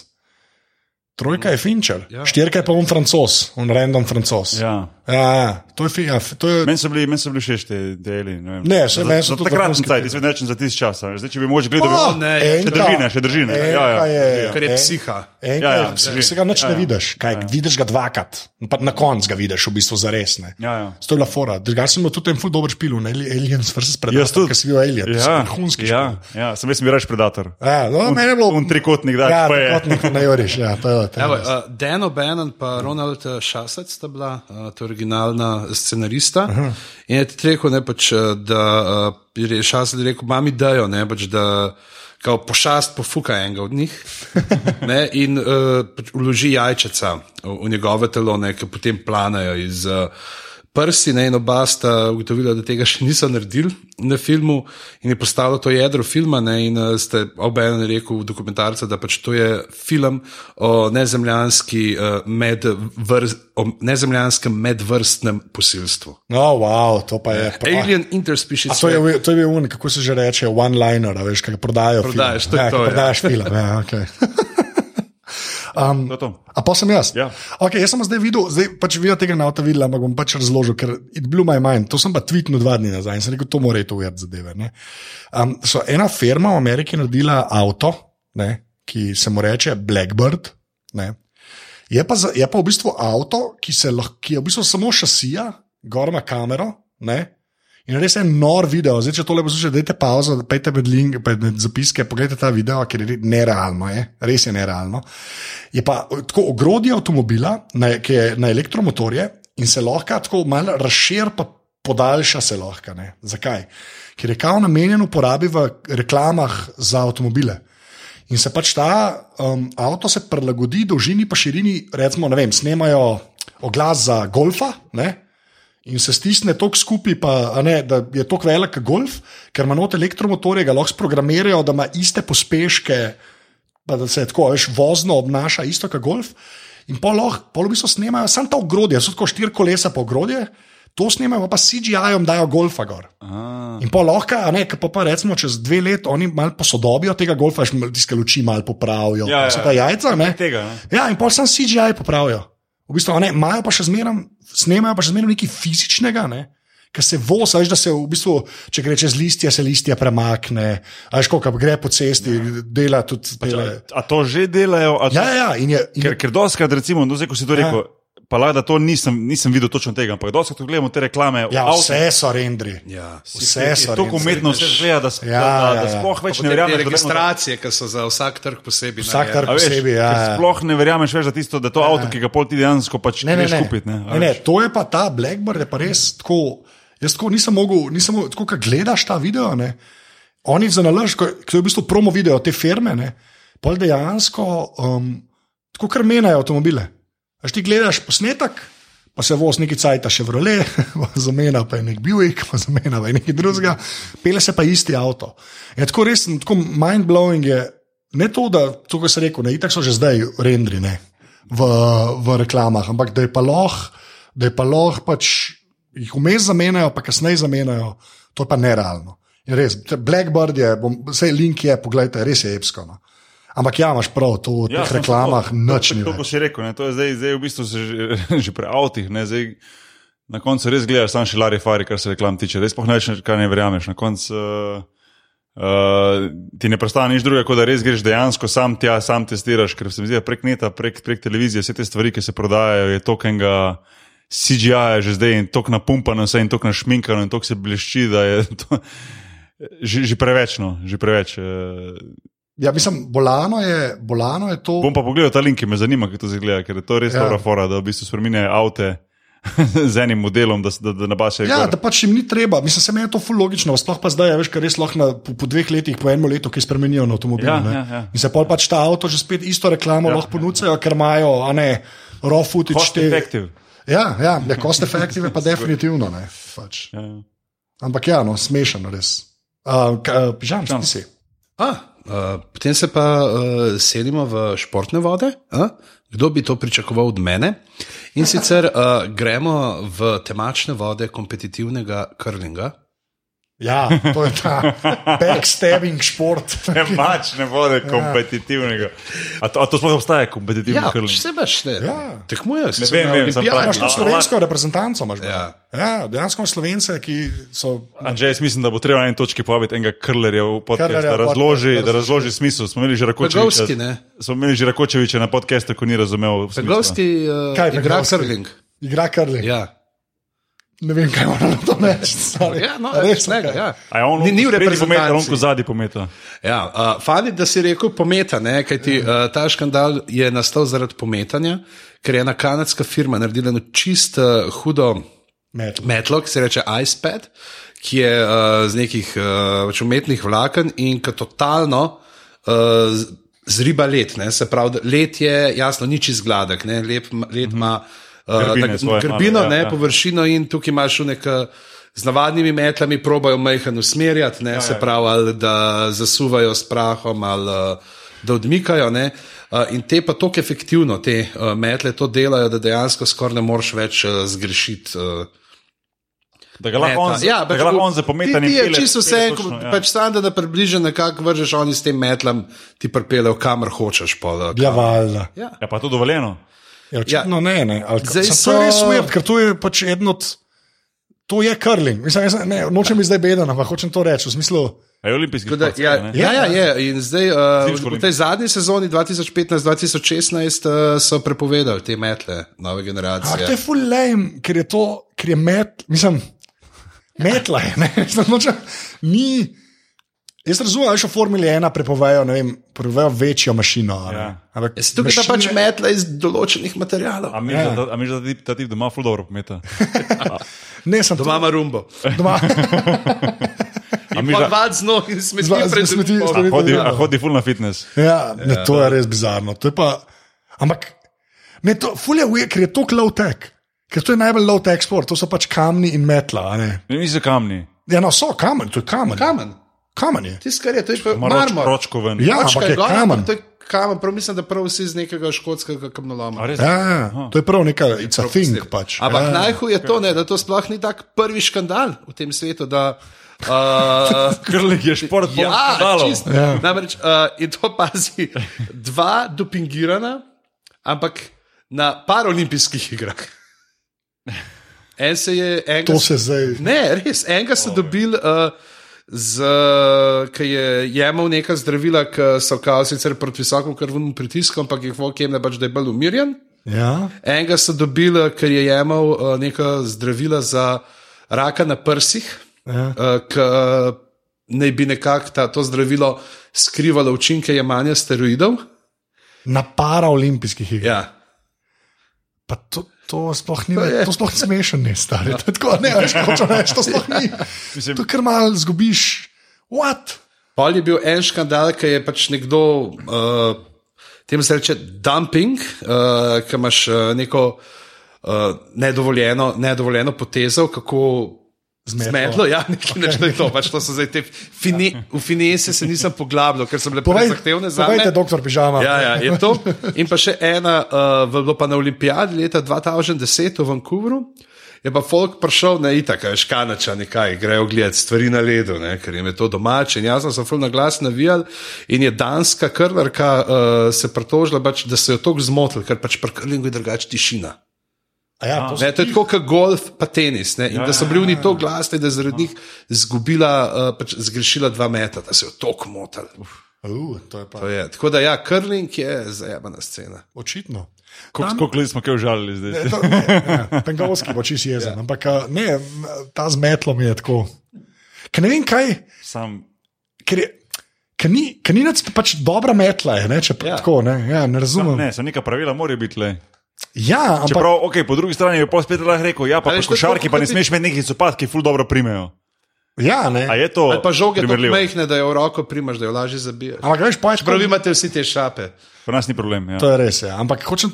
Trojka je Fincher, ja. štirka je pa on francos, on random francos. Ja. Ja. Ja, ja, to je, fi- ja, f- to je Meni so bili, men so bili všeč ti deli. Ne, vem. Ne, saj Za- meni za so tudi takratni vrhunski cajt, deli. jaz vedno rečem za tisti čas. a veš. Zdaj, če bi mogoče gledal, Pa, bi- ne, še Oh, enka- drži, ne, še drži. Ne. Ja, ja. enka je- Ker je en- psiha. Enka, Ja, ja, ja, ja, drži. se ga nič Ja, ja, ne ja. vidiš, kaj, ja, ja. vidiš ga dvakrat, pa na koncu ga vidiš, v bistvu za resne. Ja, ja. To je bila fora. Drugače sem imel tudi en ful dober špil, ne Aliens vs. Predator, ki si bil Alien, Ja, hunski špil. ja, ja, sem jaz mi reč predator. Ja, no, meni je bilo Un trikotnik, da Ja, pa je. kot nek najoriš, ja, to je to. Evo, je uh, res. Dan O'Bannon in Ronald eh, Šasec sta bila, uh, to originalna scenarista. Aha. In je ti rekel, ne, pač, eh, da uh, je Šasec rekel, mami dajo, ne, pač, da kao pošast pofuka enega od njih ne, in uh, pač uloži jajčeca v, v njegove telo, ne, ki potem planajo iz. Uh, Prsti, ne, in oba sta ugotovila, da tega še niso naredili na filmu, in je postalo to jedro filma. Ne, in eh, ste obenem rekel, dokumentarca, da pač to je film o nezemljanski, eh, medvrz, o nezemljanskem medvrstnem posilstvu. No, wow, to pa je. prav. Ja, Alien A interspecies. To je, bil- to je bil un, kako se že reče, one-liner, a veš, kaj ga prodajo. Prodajaš, film. to je ja, to, ki ja. Prodajaš film, ja, okay. [laughs] Mm. To je to. A pa sem jaz. Ja. Okay, jaz sem zdaj videl, zdaj pač vi tega ne boste videli, ampak bom pač razložil, ker it blew my mind. To sem pa tweetnil dva dni nazaj in sem rekel, to mora iti ujeti zadeve. ne. Um, so ena firma v Ameriki naredila avto, ne, ki se mu reče Blackbird. Ne. Je pa, za, je pa v bistvu avto, ki, se lahko, ki je v bistvu samo šasija, gor ima kamero. Ne, In res je nor video. Zdaj, če tole poslušate, dajte pauzo, pejte med, link, pejte med zapiske, pogledajte ta video, ker je re- nerealno. Je. Res je nerealno. Je pa eh, tako ogrodje avtomobila, na, ki je na elektromotorje in se lahko tako malo razširi, pa podaljša se lahko. Ne. Zakaj? Ker je kao namenjen uporabi v reklamah za avtomobile. In se pač ta um, avto se prilagodi dolžini in širini, recimo, ne vem, snemajo oglas za golfa. Ne? In se stisne tako skupaj, pa, a ne, da je tako velik kot golf, ker ima not elektromotorje, ga lahko programirajo, da ima iste pospeške, pa da se tako veš, vozno obnaša, isto kot golf. In pol lahko, pol v bistvu snemajo samo ta ogrodje, so tako štiri kolesa po ogrodje, to snemajo pa pa CGI-om dajo golfa gor. Ah, In pa lahko, a ne, ke pa, pa recimo čez dve leti oni malo posodobijo tega golfa, že malo tiske luči malo popravijo, Ja, ja, ja, vse ta ja. jajca. Ne. tega, ne. Ja, in pa sem CGI popravijo. V bistvu a ne, imajo pa še zmeraj, snemajo pa še zmeraj nekaj fizičnega. Ne. Ker se voza, veš, da se v bistvu, če gre čez listje, se listje premakne, ajš, ko gre po cesti, ja. dela tudi. Dela. A to že delajo? a To, Ja, ja, in je. In Ker, ker doskrat, recimo, no, zdaj, ko si to Ja. rekel, pa lahko da to nisem, nisem videl točno tega, ampak doskrat ko gledamo te reklame. ja, o avtu, vse so rendri. Ja. Vse so Tako rendri. umetno se zgleda, da, sp- Ja, da, da, ja, da ja. sploh več Potem ne te verjamem. Registracije, ki so za vsak trg posebej. Vsak narejene. trg. A veš, posebej, ja, ker ja. Sploh ne verjameš več, da, tisto, da to ja. avto, ki ga pol ti dejansko pač ne, ne, ne. kupiti. Ne, A ne, ne, veš. to je pa ta Blackbird, je pa res tako. Jaz tako nisem mogel, nisem mogel tako, ko gledaš ta video. Ne, oni za nalož, ko ko je v bistvu promo video te firme, ne, pol dejansko um, tako kar menajo avtomobile. Až ti gledaš posnetek, pa se voz neki cajt, še vrole, zamenja [laughs] pa je nek Buick, pa zamenja pa je nekaj drugega, pele se pa isti avto. Je tako res, tako mind blowing je. Ne to, da to, kar sem rekel, ne, itak so že zdaj rendri ne, v, v reklamah, ampak da je pa lahko, da je pa lahko pač jih vmes zamenjajo, pa kasneje zamenjajo, to je pa nerealno. In res, te Blackbird je, bom, vse link je, pogledajte, res je epsko. No. Ampak ja, imaš prav, to v Ja, teh samo reklamah to, nič ni. To, več. kot si rekel, ne, to je zdaj, zdaj v bistvu se že, [laughs] že pri avtih. Ne, zdaj, na koncu res gledaš, sam še lari fari, kar se reklam tiče. Res pa ne veš, kaj ne verjameš. Na koncu uh, uh, ti ne prestane nič drugega, kot da res greš dejansko sam tja, sam testiraš, ker se mi zdi, da prek neta, prek, prek televizije, vse te stvari, ki se prodajajo, je tokenga. CGI je že zdaj in tako napumpano, vse in tako našminkano, in tako se blešči, da je to [laughs] že, že preveč. No, že preveč eh, Ja, mislim, bolano je, bolano je to. Bom pa pogledal ta link, ki me zanima, kako to zgleda, ker je to res Ja. ja. dobra fora, da v bistvu spremenjajo avte [laughs] z enim modelom, da, s- da, da nabašajo. Ja, da pač jim ni treba, mislim, se meni je to ful logično, sploh pa zdaj, a veš, ker res lahko na, po, po dveh letih, po enem letu, ki spremenijo na avtomobil. Ja, ne. ja, ja. In se pol pač ta avto že spet isto reklamo ja, lahko ponudijo, ker imajo, a ne, raw pač footage. Cost te- effective. Ja, ja, ja cost effective je [laughs] pa definitivno. Ne, pač. Ja, ja. [laughs] Ampak ja, no, smešen res. Uh, uh, Žan, Žan. ti si. A, uh, potem se pa uh, selimo v športne vode. A? Kdo bi to pričakoval od mene? In sicer uh, gremo v temačne vode kompetitivnega krlinga. Ja, to je [laughs] ta backstabbing šport. Ja. Mač pač ne bo kompetitivnega. A to, a to sploh obstaja, kompetitivni Ja, krl. vse veš, ne. Ja. Tekmujejo se. Ne vem, vem, sem ja, pa- Imaš tudi slovensko reprezentanco, imaš. bro. Ja. ja, dejansko imaš slovence, ki so Anžej, jaz mislim, da bo treba na en točki povabiti enega krlerja v podkastu, Krlerja da v podcast, razloži, da da razloži smisel. Smo imeli že Rakočeviča, Begovski, ne? smo imeli že Rakočeviča na podkastu, ko ni razumel. smisla. Trgovski Kaj, uh, igra Trgovski? krling. igra krli. Ja. Ne vem, kaj moram na to reči. sorry. Ja, no, A res ne. ok. Ja. A je on ni, ni v spredi pometa, on reprezentanci. ko zadnji pometa. Ja, uh, Fani, da si rekel pometa, ne, kajti uh, ta škandal je nastal zaradi pometanja, ker je ena kanadska firma naredila eno čist uh, hudo Metal. metlo, ki se reče iPad, ki je uh, z nekih uh, pač umetnih vlaken in ki totalno uh, z- zriba let. Ne? Se pravi, da let je jasno, nič izgladek, ne? lep, ma- let ima uh, Mhm. Grbine tak- svoje grbino, male, ne, ja, ja, ja. površino in tukaj imaš nekaj. Z navadnimi metlami probajo majhen usmerjati, ne, ja, se ja. pravi, ali da zasuvajo s prahom, ali eh, da odmikajo. Ne, Eh, in te pa tako efektivno, te eh, metle to delajo, da dejansko skoraj ne moreš več eh, zgrešiti. eh, Da ga lahko Meta. on, ja, da pač ga lahko v- on za pometanje. Ti, ti je čisto vse, ko- ja. pač sam, da, da približno nekako vržeš oni s tem metlom, ti pripeljejo kamor hočeš. Pol, eh. Ja, valjda. Ja, pa to dovoljeno. Ja, očitno ja. ne. ne. Ali, Zdaj Zdaj, so- so... To je res ujep, ker to je pač eden od. To je krling. Mislim, jaz, ne, nočem biti zdaj beden, ampak hočem to reči. V smislu, A je olimpijski. Tako Da, šport, ne? ja, ja, ja, je. In zdaj, uh, Zimsko v tej zadnji sezoni 2015-2016 uh, so prepovedali te metle nove ampak to generacije. je full lame, ker je to, ker je met, mislim, metla je. Ne, [laughs] Mislim, nočem, ni, jaz razumem, da še v Formuli 1 prepovejo, ne vem, prepovejo večjo mašino. a ne. Ja. Ampak, Jaz Tukaj je mašine- pač metla iz določenih materialov. A mi Ja. že ta, a misliš, da ti- ta tip doma ful dobro [laughs] pometa. Ne, sem Doma doma. ima rumbo. doma. A mi že Podvad z nog in smeti Zva- pred smeti- smeti. smeti- hodi, a hodi ful na fitness. Ja, ne, to je res bizarno. To je pa, ampak, ne, to, fulje je, ker je to low tech. Ker to je najbolj low tech sport, to so pač kamni in metla. a ne. Ne, niso kamni. Ja, no, so kamen, to je kamen. Kamen. kamen je. Tisto, kar je, to je pa Ima roč, marmor. ročko ven. Ja, Ročka ampak je gor, kamen. To je kamen, prav mislim, da prav vsi iz nekega škotskega kamnoloma. A res? Ja, ja, to je prav nekaj, it's a thing. Pač. Ampak ja. najhuje je to, ne, da to sploh ni tak prvi škandal v tem svetu. Da, [laughs] uh, Krlik je šport, poln ja, skandalov. čisto. Ja. Namreč uh, in to pazi, dva dopingirana, ampak na paralimpijskih igrah. En se je, enega To so- se zdaj. Ne, res, enega so dobili, uh, ki je jemal neka zdravila, ki so kao sicer proti visokemu krvnemu pritisku, ampak jih vokem ne pač, da je bolj umirjen. Ja. Enega so dobili, eh, ker je jemal uh, neka zdravila za raka na prsih, Ja. uh, ki eh, naj bi nekako ta- to zdravilo skrivalo učinke jemanja steroidov. Na paraolimpijskih igrah. Ja. Pa To, to sploh ni, je- Ja. to sploh ni smešno, ne stari. To je Tako, ne, veš, hoče reči, to sploh [laughs] ni. Mislim- To kar mal zgubiš. What? Pol je bil en škandal, ki je pač nekdo, uh, temu se reče dumping, uh, ki imaš uh, neko uh, nedovoljeno, nedovoljeno potezo, kako. Zmetlo. Zmetlo, ja, nekaj okay. je to. Pač to so zdaj te fine, v finese se nisem poglabljal, ker so bile preveč Povej, Torej zahtevne za povejte, me. doktor Pižama. Ja, ja, je to. eh, In pa še ena, uh, bilo pa na olimpijadi leta 2010 v Vancouvru. Je pa folk prišel na itak, veš, kanača nekaj, grejo gledati stvari na ledu, ne, ker jim je to domače. In jaz sem se fulno glas navijal in je danska krlarka uh, se pritožila, pač, da se je to zmotil, ker pač pri krlingu je drugače tišina. A Ja, to so- Ne, to je tako kot golf, pa tenis. Ne? In da so bili oni to glasni, da je zaradi njih zgubila, uh, pač zgrešila dva metra, da se je otok motil. Uh, to je pa To je. Tako da, ja, krling je zajemana scena. očitno. Koliko let smo kaj užalili zdaj? To- ne, ja, Pengalski bo čist jezen, ja. ampak a, ne, m, ta z metlom je tako. Ker ne vem kaj, Sam, ker, je, ker ni, ker ni nad, pač dobra metla, je, ne, če ja. Ja. tako ne, ja, ne razumem. No, ne, so neka pravila morajo biti le. Ja, ampak Čeprav, okay, po drugi strani je pa spet lahko rekel, ja, A pa pri veš, to je košarki tako, pa ne kot ti- smeš imeti nekih copat, ki ful dobro primejo. ja, ne. A je to? Ali pa žoge tako primerljivo? mehne, da jo v roko primaš, da jo lažje zabiješ. Ampak veš, pa je Prav imate vsi te šape. Pri nas ni problem. Ja. To je res, ja. ampak hočem.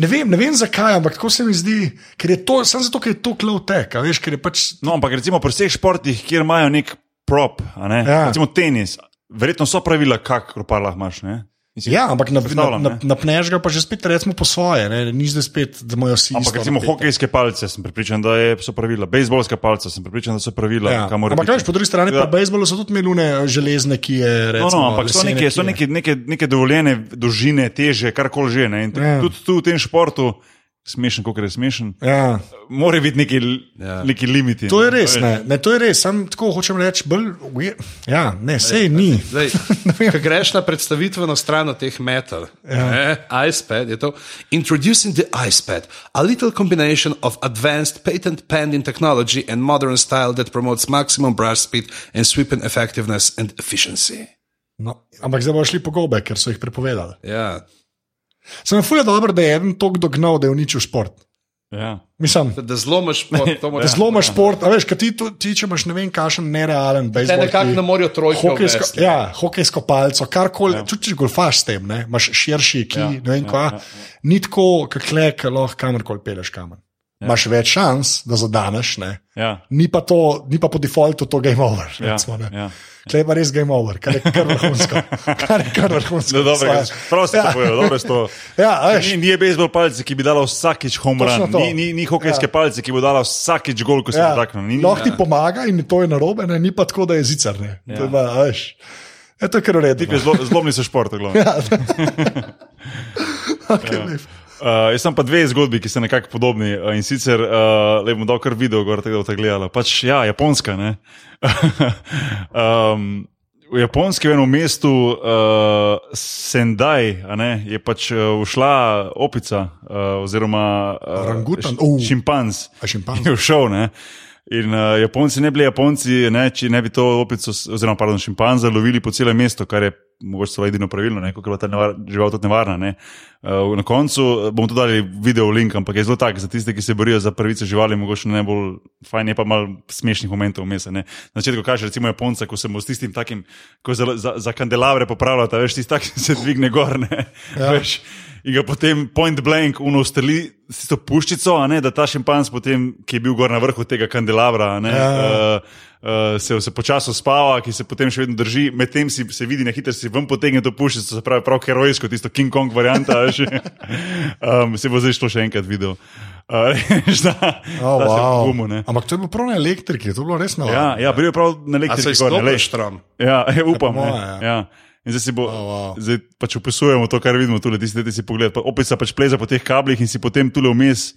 Ne vem, ne vem zakaj, ampak tako se mi zdi, ker je to, samo zato, ker je to klov tek, a veš, ker je pač. No, ampak recimo pri vseh športih, kjer imajo nek prop, a ne? Ja. ja. recimo tenis, verjetno so pravila, kako pa lahko imaš. ne? Mislim, Ja, ampak na, na, Predstavljam, na, ne. napneš ga pa že spet, recimo, po svoje, ne, ni zdaj spet, da imajo vsi. Ampak isto no, recimo napeto. hokejske palice sem pripričan, da je, so pravila, bejzbolske palice sem pripričan, da so pravila. Ja. Ja. Ampak veš, po drugi strani ja. pa bejzbolu so tudi melune železne, ki je. No, Recimo, no, ampak so, lesene, neke, ki so je- neke, neke, neke dovoljene dolžine, teže, karkoli že. Ne? In Ja. Tudi tu v tem športu, smešen, kako je smešen, Ja. mora biti neki, ja. Ja. neki limiti. no. To je ne. res, veš. ne, ne, to je res, sam tako hočem reči, bolj. weird. Ja, ne, sej ni. Zdaj, [laughs] ko greš na predstavitveno stran teh metal, ja. eh, iPad je to. Introducing the iPad, a little combination of advanced patent pending technology and modern style that promotes maximum brush speed and sweeping effectiveness and efficiency. No. Ampak zdaj bo šli po gobe, ker so jih prepovedali. Ja, Sem fulje dobro, da je en tok dognal, da je uničil šport. Ja. Mislim, da zlomiš, to moraš zlomaš šport, a veš, kaj ti, tu- ti če imaš ne vem, kakšen nerealen Te bejzbol. nekako ki- ne morejo trojke Hokejsko, uvesti. ja, hokejsko palco, karkoli, ja. tudi če golfaš s tem, ne? imaš širši, ki ja, ne vem, ja, kva, ja, ja. ni tako, kako le, ki lahko kamorkoli peleš kamen. Ja. Imaš več šans, da zadaneš, ne? Ja. ni pa, to, ni pa po defaultu to game over. Ja, recimo, ja. ja. Klej pa res game over, kar je kar vrhunsko. [laughs] Kar je kar vrhunsko. No, dobro, Svoje. prav ste ja. ja. povedali, dobro ste to. [laughs] Ja, a veš, Ni, ni je bejzbol palice, ki bi dala vsakič home Točno run, to. ni, ni, ni hokejske ja. palice, ki bo dala vsakič gol, ko se ja. ja. dotakne. Ni, ni, Lahko ti pomaga in to je narobe, ne? ni pa tako, da je zicar. Ja. To, je pa, a veš, je to je kar Tik je uredno. zelo- Zlomni so šport, glavno. Ja. Okay, Uh, jaz sem pa dve zgodbi, ki so nekako podobni uh, in sicer uh, le bom dal kar video, gor, tako da boste gledali. Pač ja, Japonska. ne. [laughs] um, v Japonski v enem mestu uh, Sendai a ne, je pač uh, ušla opica uh, oziroma uh, Orangutan? š- Oh. Šimpanz. A šimpanz. Je všel. Ne? In uh, Japonci ne bi bili Japonci, ne, če ne bi to opico, s- oziroma pardon, šimpanza lovili po celem mestu, kar je mogoče celo edino pravilno, ne, ker je bila ta nevar, žival tudi nevarna. Ne. Uh, na koncu bomo tudi dali video link, ampak je zelo tak, za tiste, ki se borijo za pravice živali, mogoče najbolj fajn je pa malo smešnih momentov vmes. a ne. Na začetku kaže recimo Japonca, ko se mu s tistim takim, ko za, za, za kandelavre popravljata, veš, tisti tak [laughs] se dvigne gor, ne, ja. veš. In ga potem point blank unostreli s to puščico, a ne, da ta šimpanz, potem, ki je bil gor na vrhu tega kandelabra, a ne, ja. uh, uh, se, se počasi spava, ki se potem še vedno drži, medtem si se vidi na hitro, si ven potegne to puščico, se pravi prav herojsko, tisto King Kong varianta. [laughs] veš. um, se bo zdaj šlo še enkrat video. [laughs] Uh, da, Oh, da se wow. gumu, ne. Ampak to je bilo prav na elektriki, to je bilo res na Ja, ja, bil je prav na A so elektriki gor, ne, izklopili lej. štrom. Ja, [laughs] upam. Ja, po ne. moje, ja. ja. In zdaj si bo, oh, wow. wow. zdaj pač opisujemo to, kar vidimo tukaj, tisti, ki si pogled, pa opet se pač pleza po teh kablih in si potem tule vmes,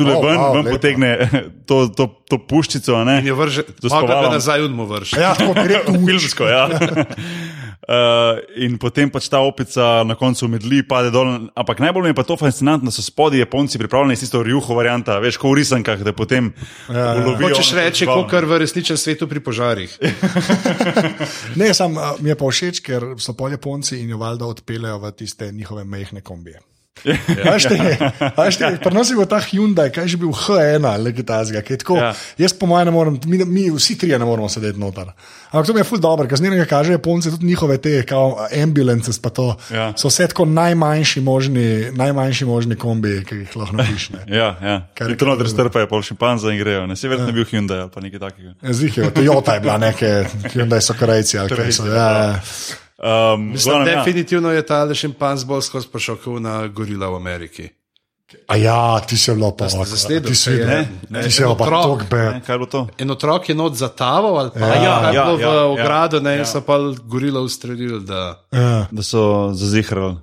tule Oh, oh, ven, wow, wow, ven lepo. potegne [laughs] to, to, to puščico. a Ne? In jo vrže, Zaspavala. pa ga nazaj unmo vrže. Ja, tako gre [laughs] Filmsko, ja. Uh, in potem pač ta opica na koncu medli, pade dol. Ampak najbolj mi je pa to fascinantno, da so spodaj Japonci pripravljeni s tisto rjuho varianta, veš, kot v risankah, da potem ja, ulovijo. Hočeš ono reči, žival. kot kar v resničnem svetu pri požarih. Ne, sam a, mi je pa všeč, ker so pol Japonci in jo valjda odpeljejo v tiste njihove mehke [laughs] kombije. Ašte, ašte, pri nas je bil ta Hyundai, kaj je že bil H1 ali kaj takega. ki je Tako, ja. Ja. Jaz, po mojem, ne morem, mi, mi vsi trije ne moremo sedeti noter. Ampak to mi je ful dobro, ker z njega kaže Japonce, tudi njihove te kao, ambulance, pa to. Ja. So vse tako najmanjši možni, najmanjši možni kombi, ki jih lahko napišne. Ja, ja. Kar- In to noter strpajo, pol šimpanza in grejo. Ne, se verjetno je bil Hyundai ali pa nekaj takega. Zdihijo, Toyota je bila nekaj, Hyundai so korejci ali kaj so. Ja, ja. Um, Mislim, glavnem, ja. definitivno je ta lešen panz bolj skozi prišel kot na gorila v Ameriki. A ja, ti si bilo pa ste zasledili, ti si kaj je, bilo, ne, ti si ne, bilo pa otrok, tako Ne, bed. kaj je bilo to? En otrok je not zataval, ali pa Ja, je ja, bilo v ja, ja. ogrado, ne, in Ja. so pa gorila ustrelili. Da... Ja, Da so zazihrali.